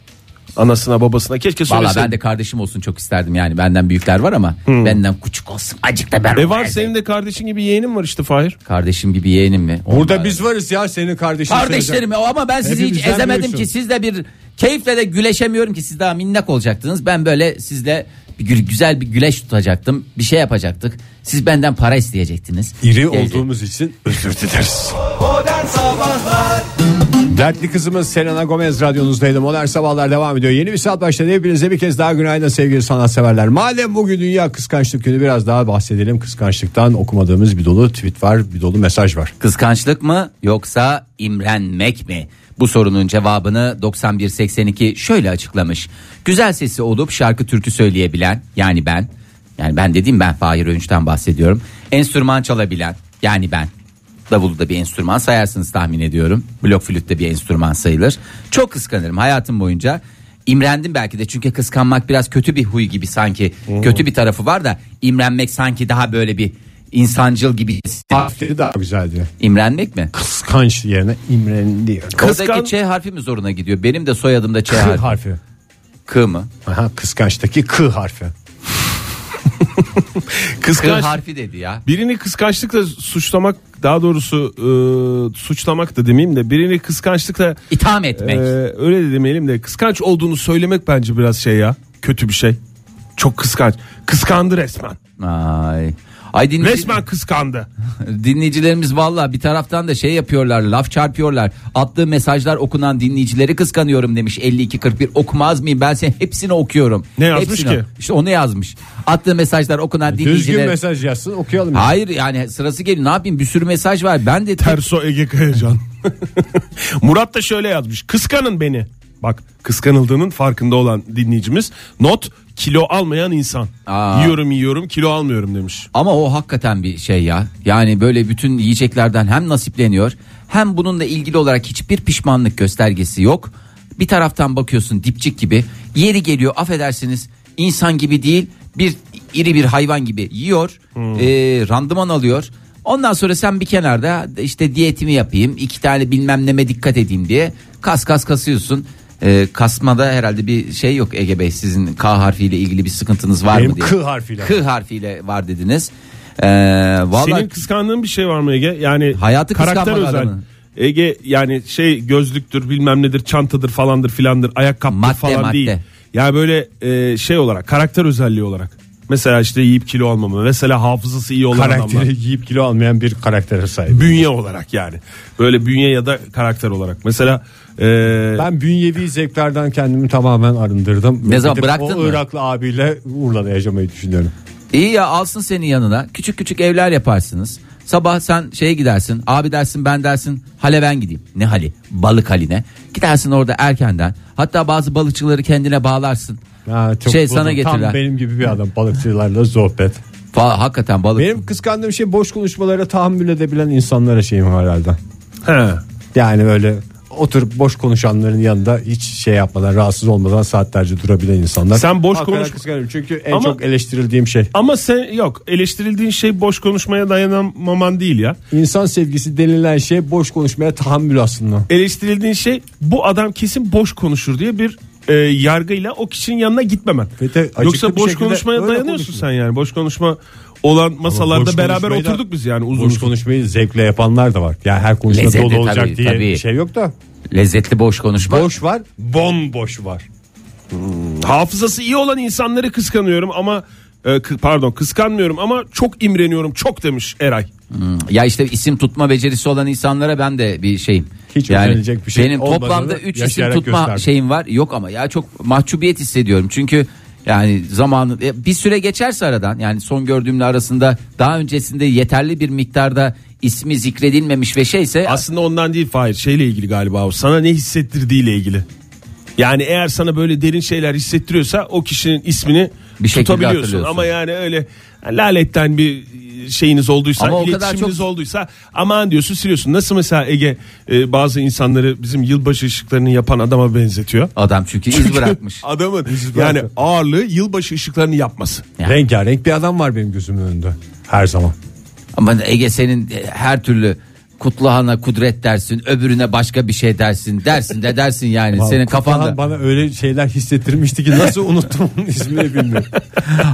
Speaker 4: Anasına babasına keşke
Speaker 3: Valla
Speaker 4: söyleseydi.
Speaker 3: Hmm. ben de kardeşim olsun çok isterdim yani benden büyükler var ama benden küçük olsun acık da ben
Speaker 4: Hmm. E
Speaker 3: onu
Speaker 4: var
Speaker 3: elde-
Speaker 4: senin de kardeşin gibi yeğenin var işte Fahir.
Speaker 3: Kardeşim gibi yeğenim mi?
Speaker 2: Burada
Speaker 3: Onlar-
Speaker 2: biz varız ya senin kardeşin.
Speaker 3: Kardeşlerim o ama ben sizi hiç
Speaker 2: Hepimizden
Speaker 3: ezemedim
Speaker 2: büyüksün.
Speaker 3: ki sizle bir keyifle de güleşemiyorum ki siz daha minnak olacaktınız. Ben böyle sizle bir gü- güzel bir güleş tutacaktım. Bir şey yapacaktık. Siz benden para isteyecektiniz.
Speaker 2: İri
Speaker 3: Geldi.
Speaker 2: olduğumuz için özür dileriz. Dertli kızımız Selena Gomez radyonuzdaydı. Modern Sabahlar devam ediyor. Yeni bir saat başladı. Hepinize bir kez daha günaydın sevgili sanatseverler. Madem bugün Dünya Kıskançlık Günü biraz daha bahsedelim. Kıskançlıktan okumadığımız bir dolu tweet var, bir dolu mesaj var.
Speaker 3: Kıskançlık mı yoksa imrenmek mi? Bu sorunun cevabını 9182 şöyle açıklamış. Güzel sesi olup şarkı türkü söyleyebilen yani ben. Yani ben dediğim ben Fahir Önç'ten bahsediyorum. Enstrüman çalabilen yani ben. Davulu da bir enstrüman sayarsınız tahmin ediyorum. Blok flüt de bir enstrüman sayılır. Çok kıskanırım hayatım boyunca. İmrendim belki de çünkü kıskanmak biraz kötü bir huy gibi sanki. Kötü bir tarafı var da imrenmek sanki daha böyle bir insancıl gibi.
Speaker 2: Harfleri daha güzel diyor.
Speaker 3: İmrenmek mi?
Speaker 2: Kıskanç yerine imrendi diyor.
Speaker 4: Kıskan-
Speaker 3: Oradaki Ç harfi mi zoruna gidiyor? Benim de soyadımda Ç
Speaker 2: K
Speaker 3: harfi.
Speaker 2: harfi.
Speaker 3: K mı?
Speaker 2: Aha, kıskançtaki K harfi.
Speaker 3: K
Speaker 4: Kıskanç.
Speaker 3: harfi dedi ya.
Speaker 4: Birini kıskançlıkla suçlamak daha doğrusu e, suçlamak da demeyeyim de birini kıskançlıkla
Speaker 3: İtham
Speaker 4: e,
Speaker 3: etmek.
Speaker 4: öyle de demeyelim de kıskanç olduğunu söylemek bence biraz şey ya kötü bir şey. Çok kıskanç. Kıskandı resmen.
Speaker 3: Ay. Ay dinleyici-
Speaker 4: Resmen kıskandı.
Speaker 3: dinleyicilerimiz valla bir taraftan da şey yapıyorlar laf çarpıyorlar. Attığı mesajlar okunan dinleyicileri kıskanıyorum demiş 52-41 okumaz mıyım ben senin hepsini okuyorum.
Speaker 4: Ne yazmış
Speaker 3: Hepsini-
Speaker 4: ki?
Speaker 3: İşte onu yazmış. Attığı mesajlar okunan
Speaker 2: Düzgün
Speaker 3: dinleyiciler.
Speaker 2: mesaj yazsın okuyalım. ya.
Speaker 3: Hayır yani sırası geliyor ne yapayım bir sürü mesaj var. Ben de
Speaker 4: Terso Ege Kayacan. Murat da şöyle yazmış. Kıskanın beni. Bak kıskanıldığının farkında olan dinleyicimiz. Not kilo almayan insan.
Speaker 3: Aa.
Speaker 4: Yiyorum yiyorum kilo almıyorum demiş.
Speaker 3: Ama o hakikaten bir şey ya. Yani böyle bütün yiyeceklerden hem nasipleniyor hem bununla ilgili olarak hiçbir pişmanlık göstergesi yok. Bir taraftan bakıyorsun dipçik gibi yeri geliyor affedersiniz insan gibi değil bir iri bir hayvan gibi yiyor
Speaker 2: Hmm.
Speaker 3: eee, randıman alıyor. Ondan sonra sen bir kenarda işte diyetimi yapayım iki tane bilmem neme dikkat edeyim diye kas kas kasıyorsun. Eee, kasmada herhalde bir şey yok Ege Bey sizin K harfiyle ilgili bir sıkıntınız var
Speaker 2: Benim
Speaker 3: mı diye.
Speaker 2: K harfiyle.
Speaker 3: K harfiyle var dediniz. Ee, vallahi
Speaker 4: Senin kıskandığın bir şey var mı Ege? Yani
Speaker 3: Hayatı
Speaker 4: karakter
Speaker 3: kıskanmak
Speaker 4: özel.
Speaker 3: adamı.
Speaker 4: Ege yani şey gözlüktür bilmem nedir çantadır falandır filandır ayakkabı
Speaker 3: Madde,
Speaker 4: falan
Speaker 3: madde.
Speaker 4: değil. Yani böyle e, şey olarak karakter özelliği olarak. Mesela işte yiyip kilo almama mesela hafızası iyi olan adamlar.
Speaker 2: Karakteri giyip kilo almayan bir karaktere sahip.
Speaker 4: Bünye olarak yani. Böyle bünye ya da karakter olarak. Mesela e,
Speaker 2: Ben bünyevi zevklerden kendimi tamamen arındırdım.
Speaker 3: Ne
Speaker 2: Ve
Speaker 3: zaman
Speaker 2: gidip
Speaker 3: bıraktın
Speaker 2: o
Speaker 3: mı?
Speaker 2: Iraklı abiyle Urla'da yaşamayı düşünüyorum.
Speaker 3: iyi ya alsın seni yanına. Küçük küçük evler yaparsınız. Sabah sen şeye gidersin. Abi dersin ben dersin. Hale ben gideyim. Ne hali? Balık haline. Gidersin orada erkenden. Hatta bazı balıkçıları kendine bağlarsın.
Speaker 2: Ha, çok
Speaker 3: şey
Speaker 2: buldum.
Speaker 3: sana
Speaker 2: Tam
Speaker 3: getirirler.
Speaker 2: benim gibi bir adam balıkçılarla sohbet.
Speaker 3: Fa- hakikaten balık.
Speaker 2: Benim kıskandığım şey boş konuşmalara tahammül edebilen insanlara şeyim var herhalde.
Speaker 4: he.
Speaker 2: Yani öyle oturup boş konuşanların yanında hiç şey yapmadan rahatsız olmadan saatlerce durabilen insanlar.
Speaker 4: Sen boş
Speaker 2: Hakikaten
Speaker 4: konuş-
Speaker 2: kıskanıyorum çünkü en
Speaker 4: Ama-
Speaker 2: çok eleştirildiğim şey.
Speaker 4: ama sen yok eleştirildiğin şey boş konuşmaya dayanamaman değil ya.
Speaker 2: İnsan sevgisi denilen şey boş konuşmaya tahammül aslında.
Speaker 4: eleştirildiğin şey bu adam kesin boş konuşur diye bir e, yargıyla o kişinin yanına gitmemen.
Speaker 2: Ve de açıkça
Speaker 4: Yoksa
Speaker 2: bir
Speaker 4: boş
Speaker 2: şekilde
Speaker 4: konuşmaya
Speaker 2: öyle
Speaker 4: dayanıyorsun
Speaker 2: konuşma.
Speaker 4: sen yani. Boş konuşma olan masalarda
Speaker 2: boş
Speaker 4: beraber
Speaker 2: konuşmayı da-
Speaker 4: oturduk biz yani uzun
Speaker 2: Boş
Speaker 4: uzun.
Speaker 2: konuşmayı zevkle yapanlar da var. Yani her konuşma
Speaker 3: Lezzetli
Speaker 2: dolu olacak
Speaker 3: tabii,
Speaker 2: diye
Speaker 3: tabii.
Speaker 2: bir şey yok da.
Speaker 3: Lezzetli boş konuşma.
Speaker 2: Boş var, bomboş var.
Speaker 4: Hafızası iyi olan insanları kıskanıyorum ama e, kı- pardon kıskanmıyorum ama çok imreniyorum çok demiş Eray.
Speaker 3: Ya işte isim tutma becerisi olan insanlara ben de bir şeyim.
Speaker 2: Hiç özenilecek bir şey
Speaker 3: Benim
Speaker 2: olmadığını
Speaker 3: toplamda 3 isim
Speaker 2: yaşayarak
Speaker 3: tutma
Speaker 2: gösterdim.
Speaker 3: şeyim var. Yok ama ya çok mahcubiyet hissediyorum. Çünkü yani zamanı e, bir süre geçerse aradan yani son gördüğümle arasında daha öncesinde yeterli bir miktarda ismi zikredilmemiş ve şeyse
Speaker 4: Aslında ondan değil Fahir şeyle ilgili galiba o sana ne hissettirdiğiyle ilgili. Yani eğer sana böyle derin şeyler hissettiriyorsa o kişinin ismini
Speaker 3: Bir şekilde
Speaker 4: tutabiliyorsun.
Speaker 3: hatırlıyorsun.
Speaker 4: Ama yani öyle laletten bir şeyiniz olduysa
Speaker 3: Ama o kadar
Speaker 4: iletişiminiz
Speaker 3: çok-
Speaker 4: olduysa aman diyorsun siliyorsun. Nasıl mesela Ege e, bazı insanları bizim yılbaşı ışıklarını yapan adama benzetiyor.
Speaker 3: Adam çünkü iz bırakmış.
Speaker 4: Adamın yani ağırlığı yılbaşı ışıklarını yapması.
Speaker 3: Ya.
Speaker 2: Rengarenk bir adam var benim gözümün önünde. Her zaman.
Speaker 3: Ama Ege senin her türlü kutlahana kudret dersin, öbürüne başka bir şey dersin, dersin de dersin yani. senin kafanda.
Speaker 2: Kutlahan Bana öyle şeyler hissettirmişti ki nasıl unuttum onun ismini bilmiyorum.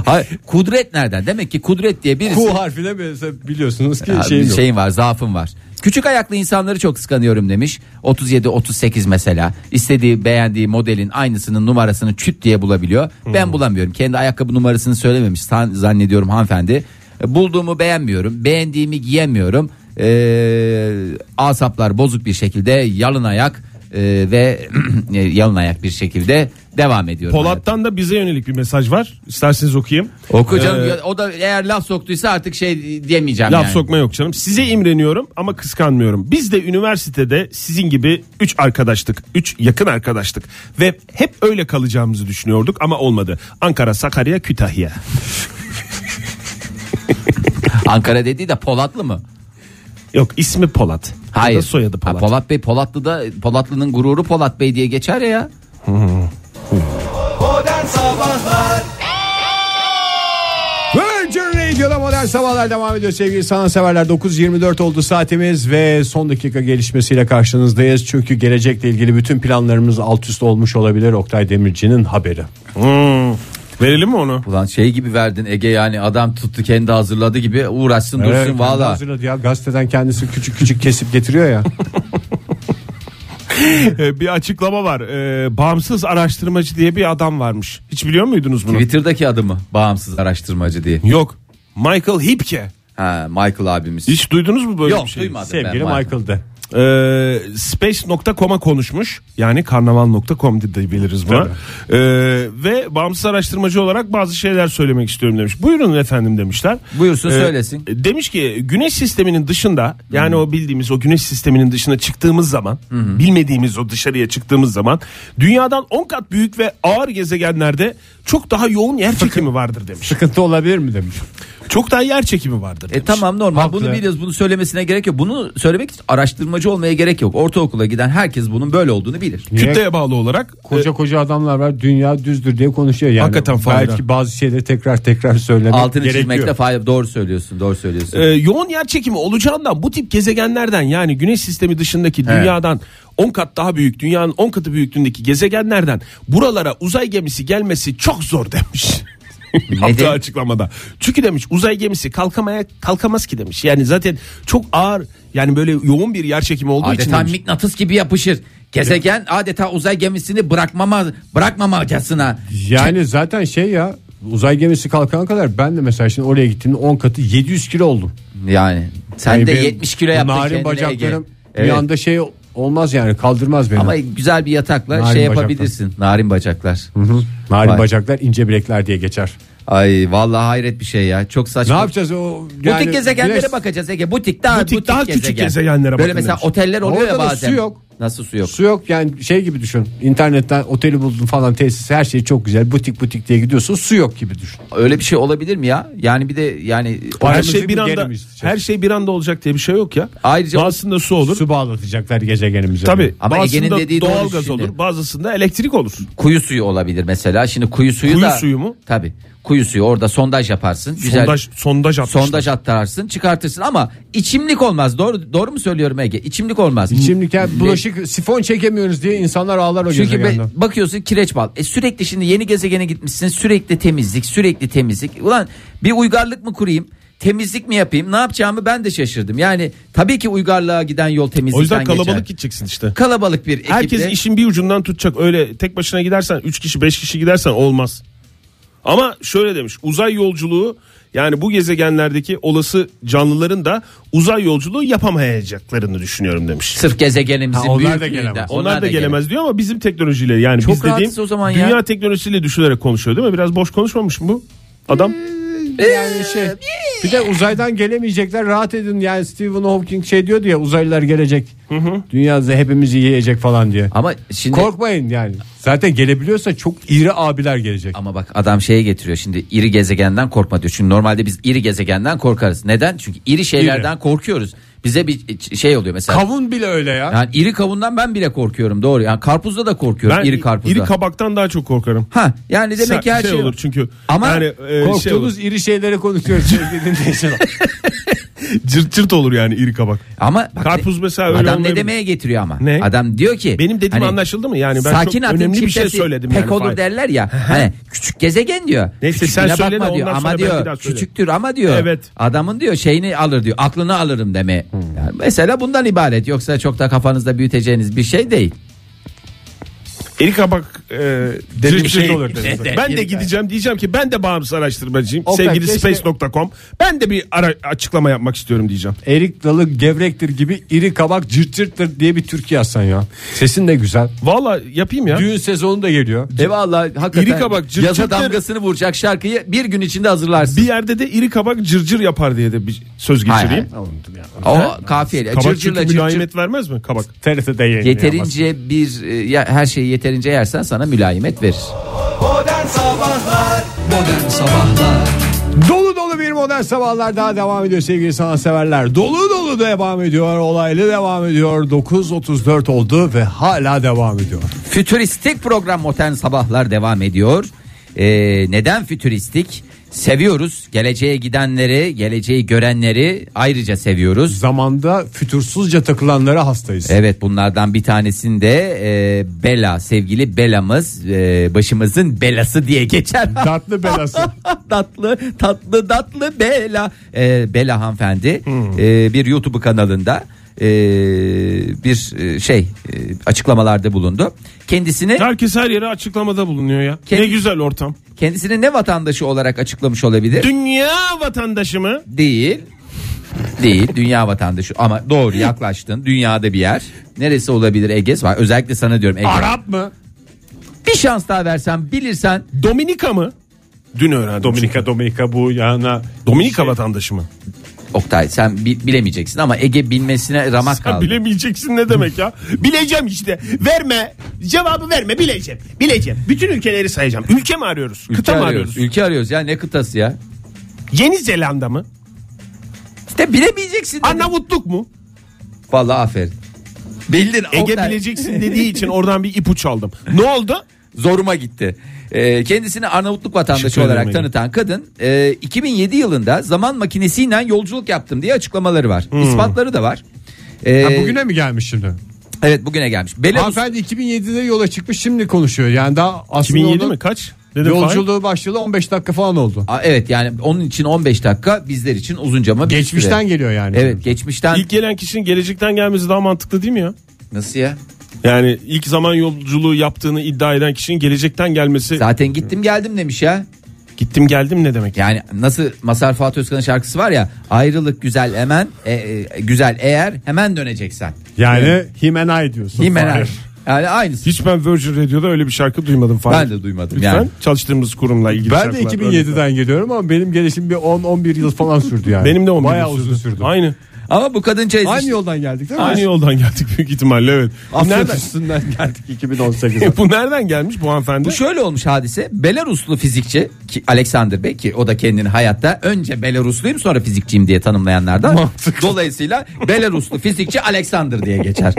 Speaker 3: Hayır, kudret nereden? Demek ki kudret diye birisi
Speaker 2: Q harfine benzer- biliyorsunuz ki şeyim
Speaker 3: Ya, bir şey-
Speaker 2: yok.
Speaker 3: şeyin var, zaafın var. Küçük ayaklı insanları çok kıskanıyorum demiş. 37 38 mesela. İstediği, beğendiği modelin aynısının numarasını çüt diye bulabiliyor. Ben bulamıyorum. Kendi ayakkabı numarasını söylememiş san- zannediyorum hanımefendi. E, Bulduğumu beğenmiyorum. Beğendiğimi giyemiyorum. E, asaplar bozuk bir şekilde yalın ayak e, ve e, yalın ayak bir şekilde devam ediyorum.
Speaker 4: Polat'tan da bize yönelik bir mesaj var. İsterseniz okuyayım.
Speaker 3: Oku canım.
Speaker 4: Ee,
Speaker 3: Ya- o da eğer laf soktuysa artık şey diyemeyeceğim
Speaker 4: Laf
Speaker 3: yani.
Speaker 4: sokma yok canım. Size imreniyorum ama kıskanmıyorum. Biz de üniversitede sizin gibi 3 arkadaştık. 3 yakın arkadaştık. Ve hep öyle kalacağımızı düşünüyorduk ama olmadı. Ankara, Sakarya, Kütahya.
Speaker 3: Ankara dediği de Polatlı mı?
Speaker 4: Yok ismi Polat.
Speaker 3: Hayır.
Speaker 4: Ya da soyadı Polat.
Speaker 3: Ha, Polat Bey Polatlı'da Polatlı'nın gururu Polat Bey diye geçer ya.
Speaker 2: Virgin Radio'da modern sabahlar devam ediyor sevgili sanatseverler. 9.24 oldu saatimiz ve son dakika gelişmesiyle karşınızdayız. Çünkü gelecekle ilgili bütün planlarımız alt üst olmuş olabilir Oktay Demirci'nin haberi.
Speaker 4: Hmm. Verelim mi onu?
Speaker 3: Ulan şey gibi verdin Ege yani adam tuttu kendi hazırladı gibi uğraşsın dursun
Speaker 2: kendi
Speaker 3: valla.
Speaker 2: hazırladı ya gazeteden kendisi küçük küçük kesip getiriyor ya.
Speaker 4: Ee, bir açıklama var. Ee, bağımsız araştırmacı diye bir adam varmış. Hiç biliyor muydunuz bunu?
Speaker 3: Twitter'daki adı mı? Bağımsız araştırmacı diye.
Speaker 4: Yok. Michael Hipke.
Speaker 3: Ha, Michael abimiz.
Speaker 4: Hiç duydunuz mu böyle
Speaker 3: Yok
Speaker 4: bir şey?
Speaker 3: duymadım ben.
Speaker 2: Sevgili
Speaker 3: Michael.
Speaker 2: Michael'dı.
Speaker 4: Ee, Space.com'a konuşmuş. Yani karnaval.com de biliriz buna. Ee, ve bağımsız araştırmacı olarak bazı şeyler söylemek istiyorum demiş. Buyurun efendim demişler.
Speaker 3: Buyursun,
Speaker 4: Ee,
Speaker 3: söylesin.
Speaker 4: Demiş ki güneş sisteminin dışında yani o bildiğimiz o güneş sisteminin dışına çıktığımız zaman bilmediğimiz o dışarıya çıktığımız zaman dünyadan 10 kat büyük ve ağır gezegenlerde çok daha yoğun yer çekimi vardır demiş.
Speaker 2: Sıkıntı olabilir mi demiş.
Speaker 4: Çok daha yer çekimi vardır demiş.
Speaker 3: E tamam normal
Speaker 2: Haklı.
Speaker 3: bunu biliyoruz bunu söylemesine gerek yok. Bunu söylemek için araştırmacı olmaya gerek yok. Ortaokula giden herkes bunun böyle olduğunu bilir.
Speaker 4: Kütleye bağlı olarak
Speaker 2: Koca koca adamlar var dünya düzdür diye konuşuyor yani.
Speaker 4: Hakikaten fayda.
Speaker 2: Belki bazı şeyleri tekrar tekrar söylemek
Speaker 3: Altını
Speaker 2: gerekiyor.
Speaker 3: çizmekte fayda doğru söylüyorsun doğru söylüyorsun.
Speaker 4: Ee, yoğun yer çekimi olacağından bu tip gezegenlerden yani güneş sistemi dışındaki dünyadan 10 kat daha büyük dünyanın 10 katı büyüklüğündeki gezegenlerden buralara uzay gemisi gelmesi çok zor demiş. Yaptığı açıklamada. Çünkü demiş uzay gemisi kalkamaya kalkamaz ki demiş. Yani zaten çok ağır yani böyle yoğun bir yer çekimi olduğu için
Speaker 3: Adeta
Speaker 4: demiş.
Speaker 3: mıknatıs gibi yapışır. Gezegen adeta uzay gemisini bırakmama bırakmamacasına.
Speaker 2: Yani zaten şey ya uzay gemisi kalkana kadar ben de mesela şimdi oraya gittiğimde 10 katı 700 kilo oldum.
Speaker 3: Yani sen
Speaker 2: Yani
Speaker 3: de
Speaker 2: benim
Speaker 3: 70 kilo yaptın
Speaker 2: narin
Speaker 3: kendine
Speaker 2: bacaklarım
Speaker 3: Ege.
Speaker 2: bir
Speaker 3: Evet.
Speaker 2: anda şey olmaz yani kaldırmaz beni.
Speaker 3: Ama güzel bir yatakla
Speaker 2: Narin
Speaker 3: şey
Speaker 2: bacaklar.
Speaker 3: yapabilirsin. Narin bacaklar.
Speaker 2: Narin
Speaker 3: Vay.
Speaker 2: bacaklar ince bilekler diye geçer.
Speaker 3: Ay vallahi hayret bir şey ya. Çok
Speaker 2: Ne
Speaker 3: saçma.
Speaker 2: yapacağız o
Speaker 3: butik gezegenlere
Speaker 2: güneş-
Speaker 3: bakacağız Ege. Butik daha
Speaker 4: Butik daha küçük gezegenlere
Speaker 3: Böyle
Speaker 4: bakın
Speaker 3: mesela
Speaker 4: demiş.
Speaker 3: oteller oluyor
Speaker 2: Orada da
Speaker 3: ya bazen.
Speaker 2: su yok.
Speaker 3: Nasıl su yok?
Speaker 2: Su yok yani şey gibi düşün. İnternetten oteli buldun falan tesis her şey çok güzel. Butik butik diye gidiyorsun su yok gibi düşün.
Speaker 3: Öyle bir şey olabilir mi ya? Yani bir de yani
Speaker 4: her
Speaker 2: Paramızı
Speaker 4: şey bir
Speaker 2: mı
Speaker 4: anda
Speaker 2: geri mi isteyeceğiz?
Speaker 4: her şey bir anda olacak diye bir şey yok ya.
Speaker 3: Ayrıca-
Speaker 4: bazısında su olur.
Speaker 2: Su bağlatacaklar gezegenimize.
Speaker 4: Tabii.
Speaker 3: Ama Ege'nin
Speaker 4: bazısında
Speaker 3: dediği doğru
Speaker 4: doğalgaz
Speaker 3: şimdi.
Speaker 4: olur, bazısında elektrik olur.
Speaker 3: kuyu suyu olabilir mesela. Şimdi kuyu suyu
Speaker 4: Kuyu
Speaker 3: da
Speaker 4: suyu mu?
Speaker 3: Tabii. Kuyu suyu orada sondaj yaparsın. Güzel.
Speaker 4: Sondaj sondaj atmışlar.
Speaker 3: sondaj attarsın çıkartırsın ama içimlik olmaz doğru doğru mu söylüyorum Ege içimlik olmaz
Speaker 2: Şimdi ya bulaşık sifon çekemiyoruz diye insanlar ağlar o
Speaker 3: çünkü be-
Speaker 2: gezegenden.
Speaker 3: bakıyorsun kireç bal. E sürekli şimdi yeni gezegene gitmişsin. Sürekli temizlik, sürekli temizlik. Ulan bir uygarlık mı kurayım? Temizlik mi yapayım? Ne yapacağımı ben de şaşırdım. Yani tabii ki uygarlığa giden yol temizlikten
Speaker 4: O yüzden kalabalık
Speaker 3: geçer.
Speaker 4: gideceksin işte.
Speaker 3: Kalabalık bir ekiple.
Speaker 4: Herkes işin bir ucundan tutacak. Öyle tek başına gidersen 3 kişi 5 kişi gidersen olmaz. Ama şöyle demiş. Uzay yolculuğu yani bu gezegenlerdeki olası canlıların da uzay yolculuğu yapamayacaklarını düşünüyorum demiş.
Speaker 3: sırf gezegenimizin
Speaker 2: Ha, onlar da
Speaker 3: büyüklüğünde.
Speaker 2: gelemez.
Speaker 4: Onlar, da gelemez diyor ama bizim teknolojiyle yani
Speaker 3: Çok
Speaker 4: biz dediğim
Speaker 3: rahatsız o zaman ya.
Speaker 4: dünya
Speaker 3: Hmm.
Speaker 4: teknolojisiyle düşünerek konuşuyor değil mi? Biraz boş konuşmamış mı bu adam?
Speaker 3: gelemez.
Speaker 2: şey Bir de uzaydan gelemeyecekler rahat edin yani Stephen Hawking şey diyordu ya uzaylılar gelecek. Dünyada hepimizi yiyecek falan diye.
Speaker 3: Ama şimdi
Speaker 2: Korkmayın yani. Zaten gelebiliyorsa çok iri abiler gelecek.
Speaker 3: Ama bak adam şeye getiriyor şimdi iri gezegenden korkma diyor. Çünkü normalde biz iri gezegenden korkarız. Neden? Çünkü iri şeylerden korkuyoruz. Bize bir şey oluyor mesela.
Speaker 2: Kavun bile öyle ya.
Speaker 3: yani iri kavundan ben bile korkuyorum doğru. Yani karpuzda da korkuyorum
Speaker 4: Ben
Speaker 3: iri karpuzda.
Speaker 4: iri kabaktan daha çok korkarım.
Speaker 3: ha yani demek
Speaker 4: Sa-
Speaker 3: ki her şey,
Speaker 4: olur çünkü.
Speaker 3: Ama
Speaker 4: yani, e, şey
Speaker 2: Korktuğumuz
Speaker 4: olur.
Speaker 2: iri şeyleri konuşuyoruz sevgili dinleyiciler.
Speaker 4: cırt cırt olur yani iri kabak.
Speaker 3: Ama bak,
Speaker 4: Karpuz mesela öyle
Speaker 3: adam ne
Speaker 4: olmayabilir.
Speaker 3: demeye getiriyor ama.
Speaker 4: Ne?
Speaker 3: Adam diyor ki hani
Speaker 4: Benim dediğim anlaşıldı mı? Yani Hani ben
Speaker 3: sakin
Speaker 4: çok
Speaker 3: adım
Speaker 4: önemli bir şey
Speaker 3: kimsesi
Speaker 4: söyledim
Speaker 3: pek
Speaker 4: yani
Speaker 3: olur
Speaker 4: Fahir.
Speaker 3: derler ya. Hani küçük gezegen diyor.
Speaker 4: Neyse,
Speaker 3: Küçüklüğüne
Speaker 4: sen söyle de
Speaker 3: bakma diyor.
Speaker 4: ondan
Speaker 3: Ama
Speaker 4: sonra ben bir daha
Speaker 3: diyor
Speaker 4: söyleyeyim.
Speaker 3: küçüktür ama diyor.
Speaker 4: Evet. Hmm.
Speaker 3: Adamın diyor şeyini alır diyor. Aklını alırım deme. Yani mesela bundan ibaret. Yoksa çok da kafanızda büyüteceğiniz bir şey değil.
Speaker 4: İri kabak e, dediğim
Speaker 2: cırt
Speaker 4: şey
Speaker 2: olur dedi.
Speaker 3: Evet,
Speaker 4: Ben de
Speaker 3: iri
Speaker 4: gideceğim diyeceğim ki ben de bağımsız araştırmacıyım.
Speaker 2: Oktay,
Speaker 4: Sevgili
Speaker 2: keşke-
Speaker 4: space.com. Ben de bir ara- açıklama yapmak istiyorum diyeceğim.
Speaker 2: Erik dalı gevrektir gibi iri kabak cırt cırttır diye bir türkü yazsan ya. Sesin de güzel.
Speaker 4: Valla yapayım ya.
Speaker 2: Düğün sezonu da geliyor.
Speaker 3: E valla hakikaten
Speaker 4: İri kabak, cırt
Speaker 3: yaza
Speaker 4: cırtları-
Speaker 3: damgasını vuracak şarkıyı bir gün içinde hazırlarsın.
Speaker 4: Bir yerde de iri kabak cırcır yapar diye de bir söz
Speaker 3: Hayır,
Speaker 4: geçireyim.
Speaker 3: O kafiyeli.
Speaker 4: Kabak
Speaker 3: Cırcırla
Speaker 4: çünkü
Speaker 3: cırcır.
Speaker 4: mülayimet vermez mi kabak?
Speaker 2: TRT'de yayınlıyor.
Speaker 3: Yeterince bir e, ya, her şeyi yeterince yersen sana mülayimet verir.
Speaker 2: Dolu dolu bir modern sabahlar daha devam ediyor sevgili sanatseverler. Dolu dolu devam ediyor. Olaylı devam ediyor. 9.34 oldu ve hala devam ediyor.
Speaker 3: Fütüristik program Modern Sabahlar devam ediyor. Ee, neden fütüristik? Seviyoruz. Geleceğe gidenleri, geleceği görenleri ayrıca seviyoruz.
Speaker 2: Zamanda fütursuzca takılanlara hastayız.
Speaker 3: Evet bunlardan bir tanesini de e, Bela sevgili Bela'mız e, başımızın belası diye geçer.
Speaker 2: Tatlı belası.
Speaker 3: tatlı tatlı tatlı Bela Ee, Bela hanımefendi ee, bir YouTube kanalında ee, bir e, şey e, açıklamalarda bulundu. Kendisini
Speaker 4: Herkes her yere açıklamada bulunuyor ya.
Speaker 3: Kendi-
Speaker 4: Ne güzel ortam.
Speaker 3: kendisini ne vatandaşı olarak açıklamış olabilir?
Speaker 4: Dünya vatandaşı mı?
Speaker 3: Değil. Değil dünya vatandaşı ama doğru yaklaştın dünyada bir yer neresi olabilir Ege var özellikle sana diyorum Ege
Speaker 2: Arap mı?
Speaker 3: bir şans daha versen bilirsen
Speaker 4: Dominika mı? Dün öğrendim.
Speaker 2: Dominika Dominika bu yana.
Speaker 4: Dominika vatandaşı mı?
Speaker 3: Oktay sen bi- bilemeyeceksin ama Ege bilmesine ramak
Speaker 4: Sen
Speaker 3: kaldı.
Speaker 4: bilemeyeceksin ne demek ya? Bileceğim işte. Verme. Cevabı verme. Bileceğim. Bileceğim. Bütün ülkeleri sayacağım. Ülke mi arıyoruz?
Speaker 3: Ülke
Speaker 4: Kıta mı
Speaker 3: arıyoruz.
Speaker 4: arıyoruz?
Speaker 3: Ülke arıyoruz ya ne kıtası ya?
Speaker 4: Yeni Zelanda mı?
Speaker 3: İşte bilemeyeceksin. dedim.
Speaker 4: Arnavutluk mu?
Speaker 3: Vallahi aferin. Bildin.
Speaker 4: Ege
Speaker 3: Oktay.
Speaker 4: bileceksin dediği için oradan bir ipuç aldım. Ne oldu?
Speaker 3: Zoruma gitti. Ee, kendisini Arnavutluk vatandaşı
Speaker 4: Teşekkür ederim
Speaker 3: olarak
Speaker 4: Ege.
Speaker 3: tanıtan kadın e, 2007 yılında zaman makinesiyle yolculuk yaptım diye açıklamaları var.
Speaker 4: Hmm.
Speaker 3: İspatları da var. Ee,
Speaker 2: Ha, bugüne mi gelmiş şimdi?
Speaker 3: Evet bugüne gelmiş. Belarus,
Speaker 2: Hanımefendi 2007'de yola çıkmış şimdi konuşuyor. Yani daha aslında
Speaker 4: 2007
Speaker 2: onun
Speaker 4: mi? Kaç? Dedim Fahir.
Speaker 2: Yolculuğu başladı 15 dakika falan oldu.
Speaker 3: Aa, evet yani onun için 15 dakika bizler için uzunca mı?
Speaker 2: Geçmişten geliyor yani.
Speaker 3: Evet geçmişten.
Speaker 4: İlk gelen kişinin gelecekten gelmesi daha mantıklı değil mi ya?
Speaker 3: Nasıl ya?
Speaker 4: Yani ilk zaman yolculuğu yaptığını iddia eden kişinin gelecekten gelmesi
Speaker 3: Zaten gittim geldim demiş ya.
Speaker 4: gittim geldim ne demek?
Speaker 3: Yani nasıl Masar Fuat Özkan'ın şarkısı var ya ayrılık güzel hemen e, e, güzel eğer hemen döneceksen.
Speaker 2: Yani Himenay diyorsun.
Speaker 3: Himener. Yani aynısı.
Speaker 4: Hiç ben Virgin Radio'da öyle bir şarkı duymadım falan.
Speaker 3: Ben de duymadım
Speaker 4: Lütfen
Speaker 3: yani.
Speaker 4: çalıştığımız kurumla ilgili
Speaker 2: Ben de
Speaker 4: şarkılar
Speaker 2: 2007'den geliyorum ama benim gelişim bir 10-11 yıl falan sürdü yani.
Speaker 4: Benim de 11
Speaker 2: Bayağı
Speaker 4: yıl
Speaker 2: uzun sürdü.
Speaker 4: Aynı.
Speaker 3: Ama bu kadın
Speaker 2: Aynı
Speaker 3: çeyiz.
Speaker 2: yoldan geldik değil mi?
Speaker 4: Aynı yoldan geldik büyük ihtimalle evet. Bu
Speaker 2: Afyon
Speaker 4: nereden,
Speaker 2: üstünden geldik 2018'e.
Speaker 4: bu nereden gelmiş bu hanımefendi?
Speaker 3: Bu şöyle olmuş hadise. Belaruslu fizikçi ki Alexander Bey ki o da kendini hayatta önce Belarusluyum sonra fizikçiyim diye tanımlayanlardan. Dolayısıyla Belaruslu fizikçi Alexander diye geçer.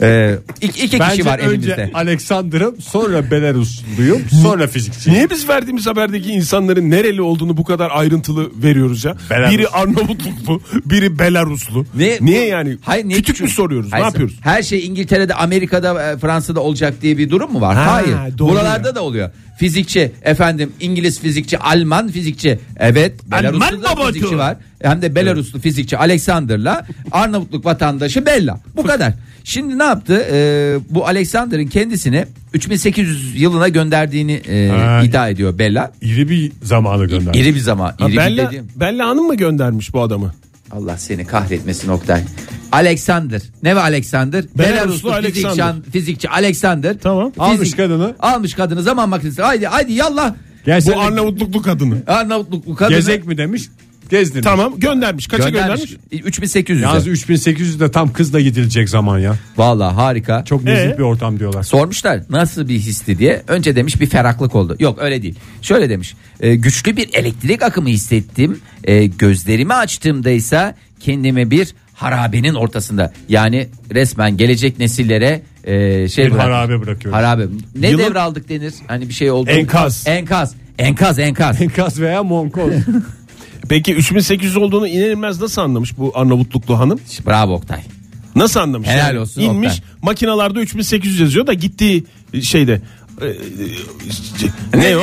Speaker 3: ee, iki, iki
Speaker 2: Bence
Speaker 3: kişi var
Speaker 2: önce
Speaker 3: elimizde.
Speaker 2: Alexander'ım sonra Belarusluyum sonra fizikçiyim.
Speaker 4: Niye biz verdiğimiz haberdeki insanların nereli olduğunu bu kadar ayrıntılı veriyoruz ya?
Speaker 2: Belarus.
Speaker 4: Biri Arnavutluklu, biri Belaruslu.
Speaker 3: Ne-
Speaker 4: Niye yani?
Speaker 3: Hayır, niye
Speaker 4: Küçük
Speaker 3: küçük?
Speaker 4: mü soruyoruz?
Speaker 3: Hayır,
Speaker 4: ne yapıyoruz?
Speaker 3: Her şey İngiltere'de, Amerika'da, e, Fransa'da olacak diye bir durum mu var?
Speaker 4: Ha,
Speaker 3: Hayır.
Speaker 4: doğru
Speaker 3: Buralarda
Speaker 4: ya.
Speaker 3: da oluyor. Fizikçi efendim İngiliz fizikçi, Alman fizikçi. Evet.
Speaker 4: Alman
Speaker 3: Belaruslu da
Speaker 4: babacı.
Speaker 3: fizikçi var. Hem de Belaruslu fizikçi Alexander'la Arnavutluk vatandaşı Bella. Bu kadar. Şimdi ne yaptı? Ee, bu Alexander'ın kendisini 3800 yılına gönderdiğini e,
Speaker 2: Ha.
Speaker 3: iddia ediyor Bella.
Speaker 2: İri bir zamana gönderdim.
Speaker 3: İri bir zaman.
Speaker 4: Ha,
Speaker 3: İri bir
Speaker 4: Bella,
Speaker 3: dediğim-
Speaker 4: Bella Hanım mı göndermiş bu adamı?
Speaker 3: Allah seni kahretmesin Oktay. Alexander. Ne ve Alexander?
Speaker 4: Belaruslu
Speaker 3: Belaruslu fizikçi,
Speaker 4: Alexander.
Speaker 3: fizikçi Alexander.
Speaker 4: Tamam.
Speaker 2: Almış kadını.
Speaker 3: Almış kadını zaman makinesi. Haydi haydi yallah.
Speaker 2: Gerçekten
Speaker 4: Bu Arnavutluklu kadını.
Speaker 3: Arnavutluklu kadını.
Speaker 2: gezek mi demiş? Gezdirmiş.
Speaker 4: Tamam göndermiş. Kaça göndermiş?
Speaker 3: 3800.
Speaker 2: Yalnız 3800 de tam kızla gidilecek zaman ya.
Speaker 3: Vallahi harika.
Speaker 2: Çok nezih
Speaker 4: Ee?
Speaker 2: bir ortam diyorlar.
Speaker 3: Sormuşlar nasıl bir histi diye. Önce demiş bir ferahlık oldu. Yok öyle değil. Şöyle demiş. "E, güçlü bir elektrik akımı hissettim. E, gözlerimi açtığımda ise kendimi bir harabenin ortasında. Yani resmen gelecek nesillere e, şey
Speaker 2: Bir
Speaker 3: bırak-
Speaker 2: harabe bırakıyoruz.
Speaker 3: Harabe. Ne
Speaker 4: Yılın-
Speaker 3: devraldık denir? Hani bir şey oldu.
Speaker 4: Enkaz.
Speaker 3: Enkaz. Enkaz enkaz.
Speaker 2: Enkaz veya monkoz.
Speaker 4: Peki 3800 olduğunu iner inmez nasıl anlamış bu Arnavutluklu hanım?
Speaker 3: Bravo Oktay.
Speaker 4: Nasıl anlamış?
Speaker 3: Helal olsun
Speaker 4: İnmiş
Speaker 3: Oktay.
Speaker 4: makinalarda 3800 yazıyor da gittiği şeyde e, e, ne o?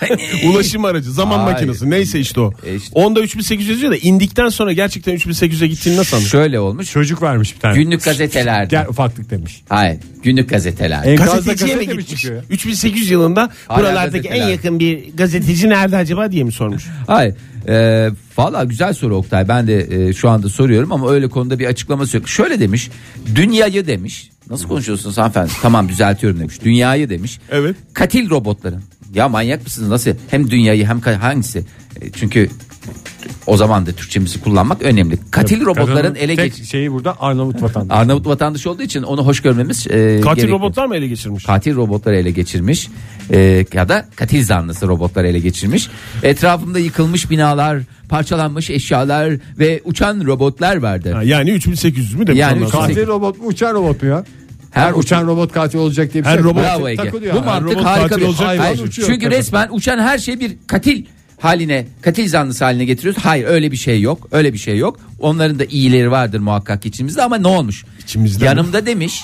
Speaker 4: Hani Ulaşım aracı, zaman
Speaker 3: Hayır.
Speaker 4: makinesi. Neyse işte o.
Speaker 3: E işte.
Speaker 4: Onda 3800 yazıyor da indikten sonra gerçekten 3800'e gittiğini nasıl anlamış?
Speaker 3: Şöyle olmuş.
Speaker 2: Çocuk vermiş bir tane.
Speaker 3: Günlük gazetelerde.
Speaker 2: Gel ufaklık demiş.
Speaker 3: Hayır. Günlük gazetelerde.
Speaker 2: Enkazda
Speaker 4: Gazeteciye mi
Speaker 2: gazete mi
Speaker 4: gitmiş?
Speaker 2: çıkıyor?
Speaker 4: 3800 yılında
Speaker 3: Hala
Speaker 4: buralardaki en
Speaker 3: gazeteler.
Speaker 4: yakın bir gazeteci nerede acaba diye mi sormuş?
Speaker 3: Hayır. Ee, Valla güzel soru Oktay. Ben de e, şu anda soruyorum ama öyle konuda bir açıklaması yok. Şöyle demiş. Dünyayı demiş. Nasıl konuşuyorsunuz hanımefendi? tamam düzeltiyorum demiş. Dünyayı demiş.
Speaker 4: Evet.
Speaker 3: Katil robotların. Ya manyak mısınız? Nasıl? Hem dünyayı hem ka- hangisi? E, çünkü o zaman da Türkçemizi kullanmak önemli. Katil robotların
Speaker 2: Kadının
Speaker 3: ele
Speaker 2: tek
Speaker 3: geç...
Speaker 2: şeyi burada Arnavut vatandaşı.
Speaker 3: Arnavut vatandaşı olduğu için onu hoş görmemiz e,
Speaker 4: Katil
Speaker 3: gerekiyor.
Speaker 4: robotlar mı ele geçirmiş?
Speaker 3: Katil robotları ele geçirmiş e, ya da katil zanlısı robotlar ele geçirmiş. Etrafımda yıkılmış binalar, parçalanmış eşyalar ve uçan robotlar vardı.
Speaker 4: Ha, Yani 3800 mü demiş
Speaker 3: Yani
Speaker 4: ondan sonra?
Speaker 3: üç-
Speaker 2: katil robot mu uçan robot mu ya?
Speaker 3: Her
Speaker 2: Her uçan robot katil olacak diye bir
Speaker 4: Her
Speaker 2: şey yok.
Speaker 4: robot-
Speaker 3: Bravo Ege.
Speaker 2: takılıyor.
Speaker 3: Bu
Speaker 2: Her
Speaker 3: mantık
Speaker 4: robot
Speaker 3: harika
Speaker 4: katil
Speaker 3: bir
Speaker 4: olacak.
Speaker 3: Hayır,
Speaker 2: Hayvan
Speaker 3: çünkü
Speaker 2: uçuyor tepede.
Speaker 3: resmen uçan her şey bir katil haline, katil zanlısı haline getiriyoruz. Hayır öyle bir şey yok. Öyle bir şey yok. Onların da iyileri vardır muhakkak içimizde ama ne olmuş?
Speaker 4: İçimizde mi?
Speaker 3: yanımda demiş.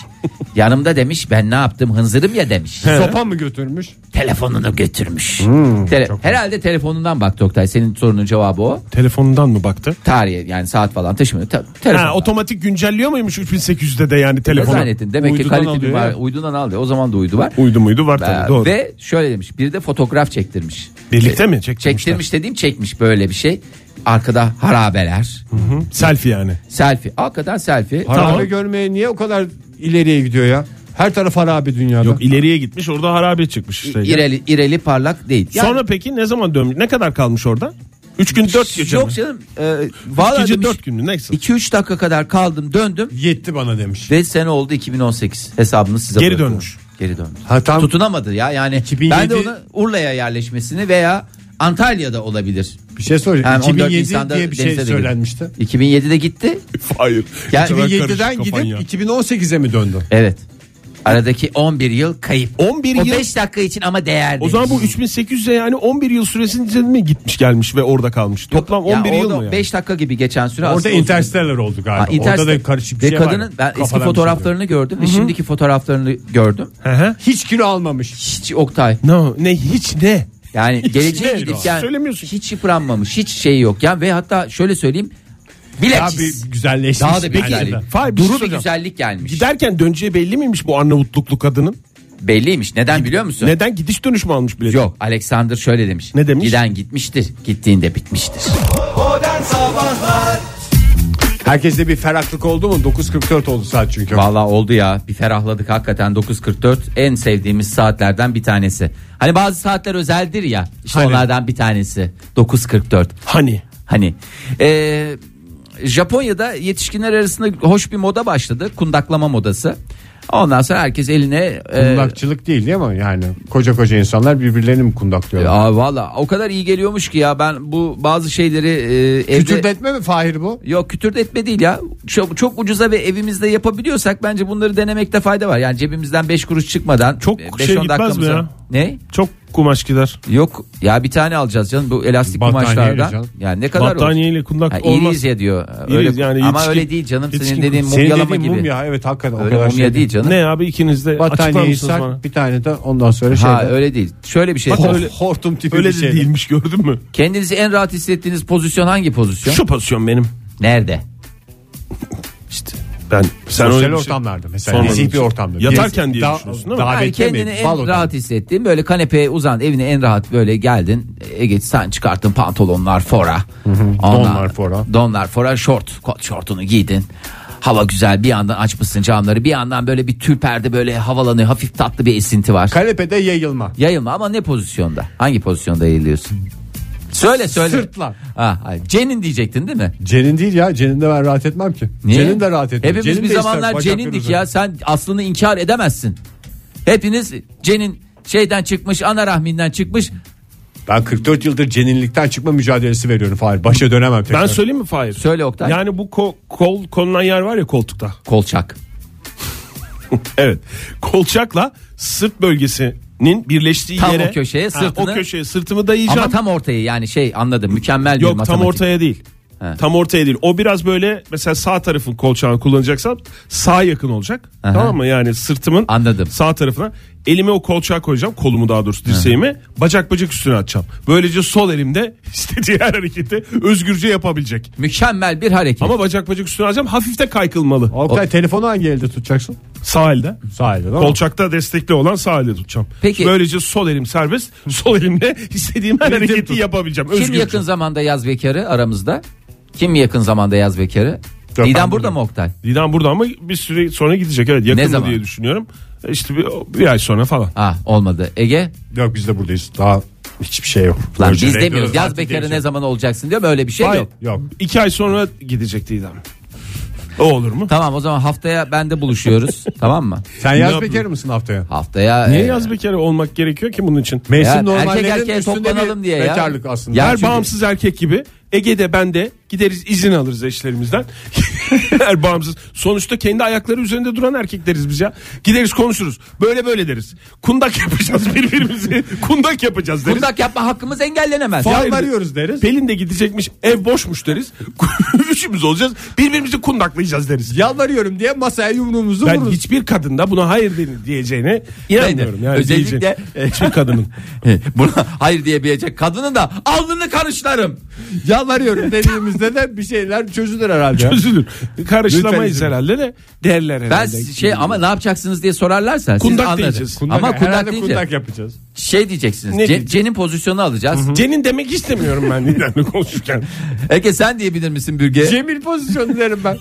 Speaker 3: yanımda demiş ben ne yaptım hınzırım ya demiş.
Speaker 2: Sopa mı götürmüş?
Speaker 3: telefonunu götürmüş.
Speaker 4: Hmm,
Speaker 3: Tele- herhalde telefonundan baktı Oktay. Senin sorunun cevabı o.
Speaker 4: Telefonundan mı baktı?
Speaker 3: Tarihe yani saat falan taşımıyor. Ta-
Speaker 4: Ha,
Speaker 3: telefondan.
Speaker 4: otomatik güncelliyor muymuş 3800'de de yani
Speaker 3: Ne
Speaker 4: telefonu?
Speaker 3: zannettin? Demek ki
Speaker 2: Uydudan
Speaker 3: kaliteli
Speaker 2: alıyor
Speaker 3: var.
Speaker 2: ya.
Speaker 3: Uydudan aldı. O zaman da uydu var.
Speaker 4: Uydu muydu var
Speaker 3: Ee,
Speaker 4: tabii doğru.
Speaker 3: Ve şöyle demiş. Bir de fotoğraf çektirmiş. Ee,
Speaker 4: Birlikte mi çektirmişler?
Speaker 3: Çektirmiş dediğim çekmiş böyle bir şey. Arkada harabeler.
Speaker 4: Selfie yani.
Speaker 3: Selfie. Hakikaten selfie.
Speaker 2: Harabe
Speaker 4: Tamam.
Speaker 2: görmeye niye o kadar ileriye gidiyor ya? Her taraf harabe dünyada.
Speaker 4: Yok ileriye gitmiş orada harabe çıkmış işte.
Speaker 3: İreli, ireli parlak değil. Yani-
Speaker 4: Sonra peki ne zaman dönmüş? Ne kadar kalmış orada? 3 gün 4 gece
Speaker 3: Yok
Speaker 4: mi?
Speaker 3: canım. E, vallahi
Speaker 4: gece
Speaker 3: demiş,
Speaker 4: 4 gün mü? Neyse.
Speaker 3: 2-3 dakika kadar kaldım döndüm.
Speaker 2: Yetti bana demiş.
Speaker 3: Ve sene oldu 2018 hesabını size
Speaker 4: Geri
Speaker 3: bırakıyorum.
Speaker 4: dönmüş.
Speaker 3: Geri dönmüş.
Speaker 2: Ha, tam-
Speaker 3: Tutunamadı ya yani.
Speaker 2: 2007
Speaker 3: Ben de ona Urla'ya yerleşmesini veya Antalya'da olabilir.
Speaker 2: Bir şey soracağım.
Speaker 3: Yani 14
Speaker 2: 2007
Speaker 3: Nisan'da
Speaker 2: diye bir
Speaker 3: denize
Speaker 2: şey
Speaker 3: de girdi.
Speaker 2: söylenmişti.
Speaker 3: 2007'de gitti.
Speaker 4: Hayır.
Speaker 3: Yani
Speaker 4: Çok karışık
Speaker 2: 2007'den
Speaker 4: kafan ya.
Speaker 2: gidip 2018'e mi döndü?
Speaker 3: Evet. Aradaki 11 yıl kayıp.
Speaker 4: 11
Speaker 3: o
Speaker 4: yıl-
Speaker 3: 5 dakika için ama değerli.
Speaker 4: O zaman bu 3800'e yani 11 yıl süresince mi gitmiş gelmiş ve orada kalmış? Toplam 11 yıl mı yani?
Speaker 3: 5 dakika gibi geçen süre
Speaker 2: Orada
Speaker 3: aslında-
Speaker 2: Interstellar oldu galiba.
Speaker 3: Ha,
Speaker 2: Orada
Speaker 3: Interstellar.
Speaker 2: da karışık
Speaker 3: Ve
Speaker 2: bir şey
Speaker 3: kadının
Speaker 2: var.
Speaker 3: ben eski
Speaker 2: Kafadan bir şey
Speaker 3: fotoğraflarını gördüm ve şimdiki fotoğraflarını gördüm.
Speaker 4: Hı hı.
Speaker 2: diyor. Hiç kilo almamış.
Speaker 3: Hiç Oktay.
Speaker 4: No, ne hiç ne?
Speaker 3: Yani geleceğe
Speaker 4: ne
Speaker 3: gidip
Speaker 4: diyor?
Speaker 3: yani
Speaker 4: Söylemiyorsun.
Speaker 3: hiç yıpranmamış, hiç şey yok. Yani ve hatta şöyle söyleyeyim.
Speaker 2: Daha
Speaker 3: Bilakis.
Speaker 2: bir güzelleşmiş.
Speaker 3: Daha da bir
Speaker 2: bir
Speaker 3: güzellik.
Speaker 2: yerden.
Speaker 4: Fay, bir şey
Speaker 3: Duru bir
Speaker 4: soracağım.
Speaker 3: güzellik gelmiş.
Speaker 4: Giderken döneceği belli miymiş bu Arnavutluklu kadının?
Speaker 3: Belliymiş. Neden biliyor musun?
Speaker 4: Neden gidiş dönüş mü almış bilet?
Speaker 3: Yok Alexander şöyle demiş.
Speaker 4: Ne demiş?
Speaker 3: Giden gitmiştir. Gittiğinde bitmiştir.
Speaker 2: Herkeste bir ferahlık oldu mu? 9.44 oldu saat çünkü.
Speaker 3: Vallahi oldu ya. Bir ferahladık hakikaten 9.44 en sevdiğimiz saatlerden bir tanesi. Hani bazı saatler özeldir ya. İşte
Speaker 4: Hani?
Speaker 3: onlardan bir tanesi 9.44.
Speaker 4: Hani?
Speaker 3: Hani Ee, Japonya'da yetişkinler arasında hoş bir moda başladı. Kundaklama modası. Ondan sonra herkes eline e,
Speaker 2: Kundakçılık değil değil mi? Yani koca koca insanlar birbirlerini mi kundaklıyorlar?
Speaker 3: Aa, valla o kadar iyi geliyormuş ki ya ben bu bazı şeyleri e, evde...
Speaker 2: Kütürdetme mi Fahir bu?
Speaker 3: Yok kütürdetme değil ya. Çok, çok ucuza ve evimizde yapabiliyorsak bence bunları denemekte fayda var. Yani cebimizden 5 kuruş çıkmadan.
Speaker 4: Çok
Speaker 3: e,
Speaker 4: şey
Speaker 3: 10
Speaker 4: gitmez mi
Speaker 3: dakikamıza-
Speaker 4: ya?
Speaker 3: Ne?
Speaker 4: Çok kumaş gider.
Speaker 3: Yok ya bir tane alacağız canım bu elastik
Speaker 2: Battaniyeyle
Speaker 3: kumaşlardan.
Speaker 2: canım.
Speaker 3: Yani ne kadar olur?
Speaker 4: Battaniyeyle kundak
Speaker 3: Ha,
Speaker 4: olmaz.
Speaker 3: İyiyiz ya diyor.
Speaker 4: İyiyiz
Speaker 3: öyle,
Speaker 4: yani
Speaker 3: ama
Speaker 4: yetişkin-
Speaker 3: öyle değil canım. Senin
Speaker 4: yetişkin-
Speaker 3: dediğin
Speaker 2: Senin
Speaker 3: mumyalama
Speaker 2: dediğin
Speaker 3: gibi.
Speaker 2: mum ya evet hakikaten o
Speaker 3: Öyle
Speaker 2: kadar
Speaker 3: mumya
Speaker 2: şey
Speaker 3: değil canım.
Speaker 4: Ne abi ikiniz de açıklar
Speaker 2: Battaniyeyi
Speaker 4: mısınız
Speaker 2: sak
Speaker 4: bana?
Speaker 2: bir tane de ondan sonra şey.
Speaker 3: Ha öyle değil. Şöyle bir şey.
Speaker 4: Bak,
Speaker 3: söyleyeyim.
Speaker 4: öyle-
Speaker 2: hortum tipi
Speaker 4: Öyle
Speaker 2: bir
Speaker 4: de
Speaker 2: şey.
Speaker 4: değilmiş gördün mü?
Speaker 3: Kendinizi en rahat hissettiğiniz pozisyon hangi pozisyon?
Speaker 4: Şu pozisyon benim.
Speaker 3: Nerede?
Speaker 4: İşte ben sen
Speaker 2: Sosyal
Speaker 4: öyle bir şey-
Speaker 2: ortamlarda mesela.
Speaker 4: Sormadım.
Speaker 2: Nezih bir ortamda.
Speaker 4: Yatarken diye
Speaker 2: Da-
Speaker 4: düşünüyorsun değil mi?
Speaker 3: Yani
Speaker 2: Davette
Speaker 3: kendini
Speaker 2: mi?
Speaker 3: en
Speaker 2: Baloda.
Speaker 3: rahat hissettiğin böyle kanepeye uzan evine en rahat böyle geldin Ege sen çıkarttın pantolonlar fora Ondan-
Speaker 2: donlar fora.
Speaker 3: donlar fora şort kot şortunu giydin hava güzel bir yandan açmışsın camları bir yandan böyle bir tül perde böyle havalanıyor hafif tatlı bir esinti var
Speaker 2: Kanepede yayılma.
Speaker 3: yayılma ama ne pozisyonda hangi pozisyonda yayılıyorsun Söyle söyle.
Speaker 2: Sırtlan.
Speaker 3: Ha, ha, Cenin diyecektin değil mi?
Speaker 2: Cenin değil ya. Cenin de ben rahat etmem ki.
Speaker 3: Niye?
Speaker 2: Cenin de rahat etmem.
Speaker 3: Hepimiz
Speaker 2: Cenin
Speaker 3: bir
Speaker 2: de ister
Speaker 3: zamanlar
Speaker 2: bacakları
Speaker 3: cenindik
Speaker 2: uzun.
Speaker 3: ya. Sen aslını inkar edemezsin. Hepiniz cenin şeyden çıkmış, ana rahminden çıkmış.
Speaker 2: Ben 44 yıldır ceninlikten çıkma mücadelesi veriyorum Fahir. Başa dönemem tekrar.
Speaker 4: Ben söyleyeyim mi Fahir?
Speaker 3: Söyle Oktay.
Speaker 4: Yani bu ko- kol konulan yer var ya koltukta.
Speaker 3: Kolçak.
Speaker 4: Evet. Kolçakla sırt bölgesinin birleştiği
Speaker 3: Tam
Speaker 4: yere
Speaker 3: o köşeye
Speaker 4: Ha,
Speaker 3: sırtını-
Speaker 4: o köşeye sırtımı
Speaker 3: Ama
Speaker 4: dayayacağım.
Speaker 3: tam ortaya yani şey anladım. Mükemmel bir
Speaker 4: Yok tam
Speaker 3: matematik.
Speaker 4: ortaya değil.
Speaker 3: He.
Speaker 4: Tam ortaya değil. O biraz böyle mesela sağ tarafın kolçağını kullanacaksan sağ yakın olacak.
Speaker 3: Aha.
Speaker 4: Tamam mı? Yani sırtımın
Speaker 3: Anladım.
Speaker 4: sağ tarafına elime o kolçağı koyacağım. Kolumu daha doğrusu dirseğimi. Bacak bacak üstüne atacağım. Böylece sol elimde istediği her hareketi özgürce yapabilecek.
Speaker 3: Mükemmel bir hareket.
Speaker 4: Ama bacak bacak üstüne atacağım. Hafif de kaykılmalı.
Speaker 2: Oktay telefonu hangi elde tutacaksın?
Speaker 4: Sağ elde.
Speaker 2: Sağ elde değil mi?
Speaker 4: Kolçakta destekli olan sağ elde tutacağım.
Speaker 3: Peki.
Speaker 4: Böylece sol elim serbest. Sol elimle istediğim her hareketi
Speaker 2: tut.
Speaker 4: yapabileceğim.
Speaker 3: Kim
Speaker 4: Özgürce.
Speaker 3: yakın zamanda yaz bekarı aramızda? Kim yakın zamanda yaz bekarı?
Speaker 4: ben
Speaker 3: Didem burada
Speaker 4: buradayım.
Speaker 3: mı Oktay?
Speaker 4: Didem burada ama bir süre sonra gidecek. Evet
Speaker 3: Ne
Speaker 4: yakın mı
Speaker 3: zaman?
Speaker 4: diye düşünüyorum. E İşte bir, bir ay sonra falan.
Speaker 3: Ah olmadı. Ege?
Speaker 2: Yok biz de buradayız. Daha hiçbir şey yok.
Speaker 3: Lan
Speaker 2: Önce
Speaker 3: biz
Speaker 2: radyoda
Speaker 3: demiyoruz. Yaz
Speaker 2: tatil
Speaker 3: bekarı
Speaker 2: diyeceğim.
Speaker 3: ne zaman olacaksın diyor. Böyle bir şey
Speaker 4: Hayır.
Speaker 3: yok.
Speaker 2: Yok.
Speaker 4: İki ay sonra gidecek Didem. O olur mu?
Speaker 3: Tamam o zaman haftaya ben de buluşuyoruz. tamam mı?
Speaker 2: Sen
Speaker 4: Ne
Speaker 2: yaz
Speaker 4: yap-
Speaker 2: bekarı mısın haftaya?
Speaker 3: Haftaya
Speaker 4: Niye
Speaker 3: e,
Speaker 4: yaz bekar olmak gerekiyor ki bunun için?
Speaker 2: Mevsim
Speaker 3: Ya erkek
Speaker 2: normallerinin
Speaker 3: erkeğe
Speaker 2: üstünde
Speaker 3: toplanalım
Speaker 2: bir
Speaker 3: diye ya.
Speaker 2: Bekarlık aslında.
Speaker 3: Ya
Speaker 4: Her
Speaker 3: çünkü-
Speaker 4: bağımsız erkek gibi Ege'de ben de gideriz izin alırız eşlerimizden. Her bağımsız. Sonuçta kendi ayakları üzerinde duran erkekleriz biz ya. Gideriz konuşuruz. Böyle böyle deriz. Kundak yapacağız birbirimizi. Kundak yapacağız deriz.
Speaker 3: kundak yapma hakkımız engellenemez.
Speaker 4: Fa-
Speaker 2: Fal arıyoruz deriz.
Speaker 4: Pelin de gidecekmiş ev boşmuş deriz. Üçümüz olacağız. Birbirimizi kundaklayacağız deriz.
Speaker 2: Yalvarıyorum diye masaya yumruğumuzu
Speaker 4: ben
Speaker 2: vururuz.
Speaker 4: hiçbir kadında buna hayır de- diyeceğine inanmıyorum.
Speaker 3: Ben de.
Speaker 4: Yani
Speaker 3: Özellikle-
Speaker 4: diyecek. hiçbir kadının.
Speaker 3: Buna hayır diyebilecek kadının da alnını karışlarım.
Speaker 2: Yalvarıyorum dediğimizde de bir şeyler çözülür herhalde. ya.
Speaker 4: Üzülür. Karışlamayız
Speaker 2: izin.
Speaker 4: herhalde de derler
Speaker 3: Ben
Speaker 4: herhalde.
Speaker 3: şey ama ne yapacaksınız diye sorarlarsa siz
Speaker 4: Kundak
Speaker 3: anladınız.
Speaker 4: diyeceğiz.
Speaker 2: Kundak-
Speaker 3: ama kundak
Speaker 2: herhalde
Speaker 3: deyince
Speaker 2: kundak yapacağız.
Speaker 3: şey diyeceksiniz.
Speaker 4: Ne
Speaker 3: Ce-
Speaker 4: diyeceğiz?
Speaker 3: Cen'in pozisyonu alacağız.
Speaker 4: Cenin demek istemiyorum ben Nilan'la konuşurken.
Speaker 3: Ege sen diyebilir misin Bürge?
Speaker 2: Cemil pozisyonu derim ben.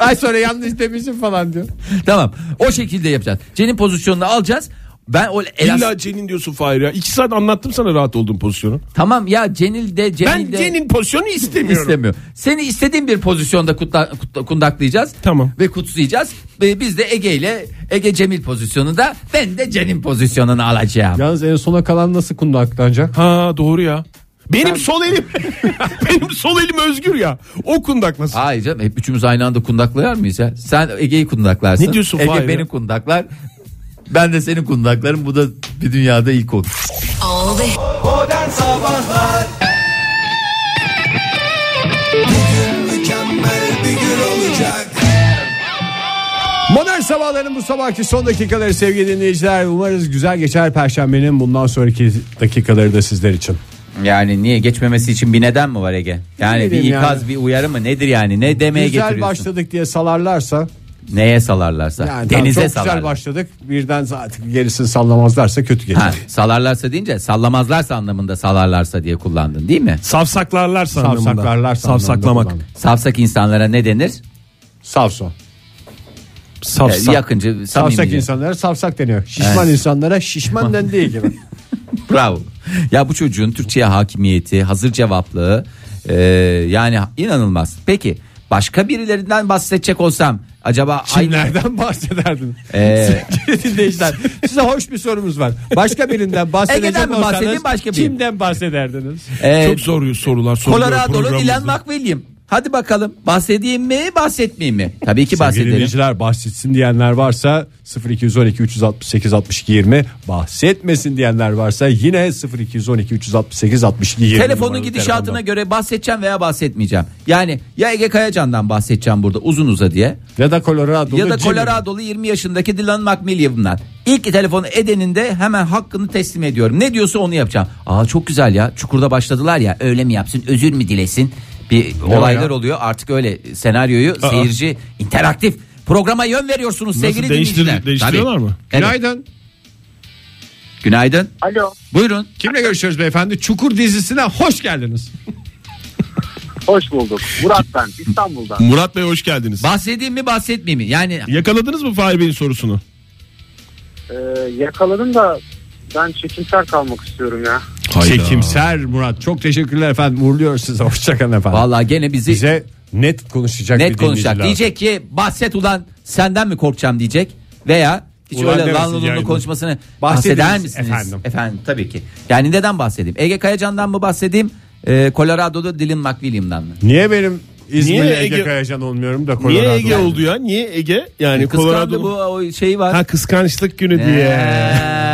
Speaker 2: Ay sonra yanlış demişim falan diyor.
Speaker 3: tamam. O şekilde yapacağız. Cen'in pozisyonunu alacağız. Ben o elas-
Speaker 4: İlla Cenin diyorsun Fahir ya. İki saat anlattım sana rahat olduğum pozisyonu.
Speaker 3: Tamam ya Cenil de Cenil
Speaker 4: Ben
Speaker 3: de
Speaker 4: Cenin pozisyonu istemiyorum.
Speaker 3: istemiyor. Seni istediğin bir pozisyonda kutla, kutla- kundaklayacağız.
Speaker 4: Tamam.
Speaker 3: Ve kutlayacağız. Ve biz de Ege ile Ege Cemil pozisyonunda ben de Cen'in pozisyonunu alacağım.
Speaker 2: Yalnız en sona kalan nasıl kundaklanacak?
Speaker 4: Ha doğru ya. Benim sol elim. benim sol elim özgür ya. O kundaklasın.
Speaker 3: Hayır canım hep üçümüz aynı anda kundaklar mıyız ya? Sen Ege'yi kundaklarsın.
Speaker 4: Ne diyorsun
Speaker 3: Ege
Speaker 4: Fahir?
Speaker 3: beni kundaklar. Ben de senin kundaklarım. Bu da bir dünyada ilk olur.
Speaker 8: Modern Sabahlar Bugün mükemmel bir gün olacak
Speaker 2: Modern sabahların bu sabahki son dakikaları sevgili dinleyiciler. Umarız güzel geçer Perşembe'nin bundan sonraki dakikaları da sizler için.
Speaker 3: Yani niye geçmemesi için bir neden mi var Ege? Yani bir
Speaker 2: bileyim
Speaker 3: ikaz
Speaker 2: yani.
Speaker 3: bir uyarı mı nedir yani? Ne demeye
Speaker 2: güzel
Speaker 3: getiriyorsun?
Speaker 2: başladık diye salarlarsa
Speaker 3: Neye salarlarsa.
Speaker 2: yani tamam,
Speaker 3: Denize
Speaker 2: çok
Speaker 3: salarlar.
Speaker 2: güzel başladık. Birden zaten gerisini sallamazlarsa kötü geçer.
Speaker 3: Ha, salarlarsa deyince sallamazlarsa anlamında salarlarsa diye kullandın değil mi?
Speaker 4: Savsaklarlarsa anlamında.
Speaker 2: Savsaklarlarsa anlamında
Speaker 4: Savsaklamak.
Speaker 2: kullandım.
Speaker 3: Savsak insanlara ne denir?
Speaker 2: Savson.
Speaker 3: Ee,
Speaker 4: Savsak.
Speaker 3: Yakıncı,
Speaker 2: Savsak
Speaker 3: samimice.
Speaker 2: insanlara savsak deniyor. Şişman insanlara şişman dendiği gibi.
Speaker 3: Bravo. Ya bu çocuğun Türkçe'ye hakimiyeti, hazır cevaplığı e, yani inanılmaz. Peki başka birilerinden bahsedecek olsam acaba
Speaker 2: Kimlerden bahsederdin?
Speaker 3: Ee,
Speaker 2: Sevgili dinleyiciler size hoş bir sorumuz var. Başka birinden bahsedecek
Speaker 3: Ege'den mi
Speaker 2: olsanız
Speaker 3: bahsedeyim, başka biri?
Speaker 2: kimden bahsederdiniz?
Speaker 3: e,
Speaker 4: Çok zor sorular soruluyor
Speaker 3: Colorado'lu
Speaker 4: programımızda.
Speaker 3: Dylan McWilliam. Hadi bakalım bahsedeyim mi bahsetmeyeyim mi? Tabii ki
Speaker 2: Sevgili
Speaker 3: bahsedelim.
Speaker 2: dinleyiciler bahsetsin diyenler varsa 0212 368 62 20 bahsetmesin diyenler varsa yine 0212 368 62 20
Speaker 3: Telefonun
Speaker 2: numaralı
Speaker 3: gidişatına
Speaker 2: telefondan.
Speaker 3: göre bahsedeceğim veya bahsetmeyeceğim. Yani ya Ege Kayacan'dan bahsedeceğim burada uzun uza diye.
Speaker 2: ya da Colorado'lu
Speaker 3: ya da
Speaker 2: Jimmy.
Speaker 3: Colorado'lu 20 yaşındaki Dylan McMillian'dan. İlk telefonu edeninde hemen hakkını teslim ediyorum. Ne diyorsa onu yapacağım. Aa çok güzel ya. Çukurda başladılar ya. Öyle mi yapsın? Özür mü dilesin? Bir olaylar
Speaker 2: ya?
Speaker 3: oluyor. Artık öyle senaryoyu seyirci interaktif programa yön veriyorsunuz sevgili
Speaker 4: değiştir-
Speaker 3: dinleyiciler.
Speaker 4: değiştiriyorlar
Speaker 3: Tabii.
Speaker 4: mı?
Speaker 3: Evet.
Speaker 2: Günaydın.
Speaker 3: Günaydın.
Speaker 6: Alo.
Speaker 3: Buyurun.
Speaker 2: Kimle görüşüyoruz beyefendi? Çukur dizisine hoş geldiniz.
Speaker 6: Hoş bulduk. Murat ben İstanbul'dan.
Speaker 4: Murat Bey hoş geldiniz.
Speaker 3: Bahsedeyim mi bahsetmeyeyim mi? Yani
Speaker 4: Yakaladınız mı Fahir Bey'in sorusunu?
Speaker 6: Ee, yakaladım da ben çekimser kalmak istiyorum ya.
Speaker 2: Çekimser Murat. Çok teşekkürler efendim. Uğurluyoruz size. Hoşçakalın efendim.
Speaker 3: Vallahi gene bizi
Speaker 2: Bize net konuşacak bir
Speaker 3: net
Speaker 2: dinleyici
Speaker 3: konuşacak.
Speaker 2: lazım.
Speaker 3: Diyecek ki bahset ulan senden mi korkacağım diyecek veya hiç
Speaker 2: Ulan
Speaker 3: öyle
Speaker 2: demesin
Speaker 3: lanlunlu
Speaker 2: yani.
Speaker 3: konuşmasını
Speaker 2: Bahsediniz
Speaker 3: bahseder misiniz?
Speaker 2: efendim.
Speaker 3: tabii ki. Yani neden bahsedeyim? Ege Kayacan'dan mı bahsedeyim? Ee, Colorado'da Dylan McWilliam'dan mı?
Speaker 2: Niye benim İzmir'le
Speaker 4: Niye
Speaker 2: Ege
Speaker 4: Ege-
Speaker 2: Kayacan olmuyorum da
Speaker 4: Niye
Speaker 2: Colorado'da?
Speaker 4: Ege oldu ya? Niye Ege? Yani
Speaker 3: Kıskandı bu
Speaker 4: Colorado'nun
Speaker 3: o şey var.
Speaker 4: Ha kıskançlık günü
Speaker 3: Ee,
Speaker 4: E, diye.
Speaker 3: evet.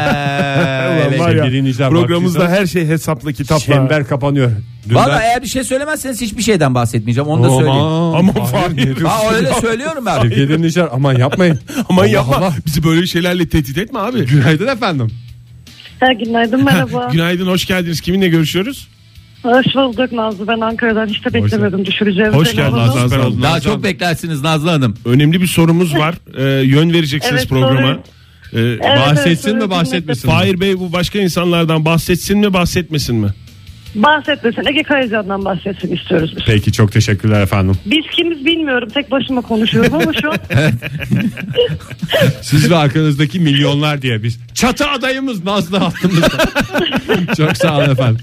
Speaker 4: Ulan var ya,
Speaker 2: sevgili dinleyiciler,
Speaker 4: programımızda
Speaker 2: baktıysanız
Speaker 4: her şey hesaplı kitapla.
Speaker 2: Çember kapanıyor. Dünden-
Speaker 3: Valla eğer bir şey söylemezseniz hiçbir şeyden bahsetmeyeceğim. Onu da söyleyeyim.
Speaker 4: Aman Fahir.
Speaker 3: Ha öyle söylüyorum ben.
Speaker 2: Sevgili dinleyiciler aman yapmayın.
Speaker 4: Aman yapma. Bizi böyle şeylerle tehdit etme abi.
Speaker 2: Günaydın efendim.
Speaker 9: Ha, günaydın merhaba.
Speaker 4: Günaydın hoş geldiniz. Kiminle görüşüyoruz?
Speaker 9: Hoş bulduk Nazlı. Ben Ankara'dan hiç de beklemedim düşüreceğim.
Speaker 4: Hoş
Speaker 9: seni.
Speaker 4: geldin
Speaker 9: Ama-
Speaker 4: Nazlı Hanım.
Speaker 3: Daha çok beklersiniz Nazlı Hanım.
Speaker 4: Önemli bir sorumuz var. Ee, yön vereceksiniz
Speaker 9: Evet,
Speaker 4: programa.
Speaker 9: sorun.
Speaker 4: Ee,
Speaker 9: Evet,
Speaker 4: bah-
Speaker 9: evet,
Speaker 2: Bahsetsin
Speaker 9: sonra
Speaker 2: mi
Speaker 9: dinledim.
Speaker 2: bahsetmesin mi?
Speaker 4: Fahir Bey bu başka insanlardan bahsetsin mi bahsetmesin mi?
Speaker 9: Bahsetmesin. Ege Kayacan'dan bahsetsin istiyoruz biz.
Speaker 2: Peki çok teşekkürler efendim.
Speaker 9: Biz kimiz bilmiyorum. Tek başıma konuşuyorum ama şu an
Speaker 2: Siz ve arkanızdaki milyonlar diye biz. Çatı adayımız Nazlı altımızda. çok sağ olun efendim.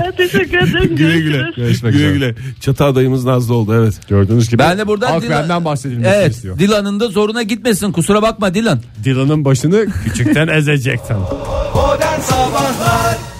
Speaker 9: ben teşekkür ederim. Görüşürüz.
Speaker 2: Görüşmek
Speaker 4: Güle
Speaker 2: üzere.
Speaker 4: güle. Çatı adayımız Nazlı oldu evet.
Speaker 2: Gördüğünüz gibi
Speaker 3: Ben de buradan
Speaker 2: halk
Speaker 3: Dylan-
Speaker 2: benden bahsedilmesini
Speaker 3: Evet.
Speaker 2: istiyor.
Speaker 3: Dylan'ın da zoruna gitmesin. Kusura bakma Dylan.
Speaker 2: Dylan'ın başını küçükten ezecektim.
Speaker 8: Modern Sabahlar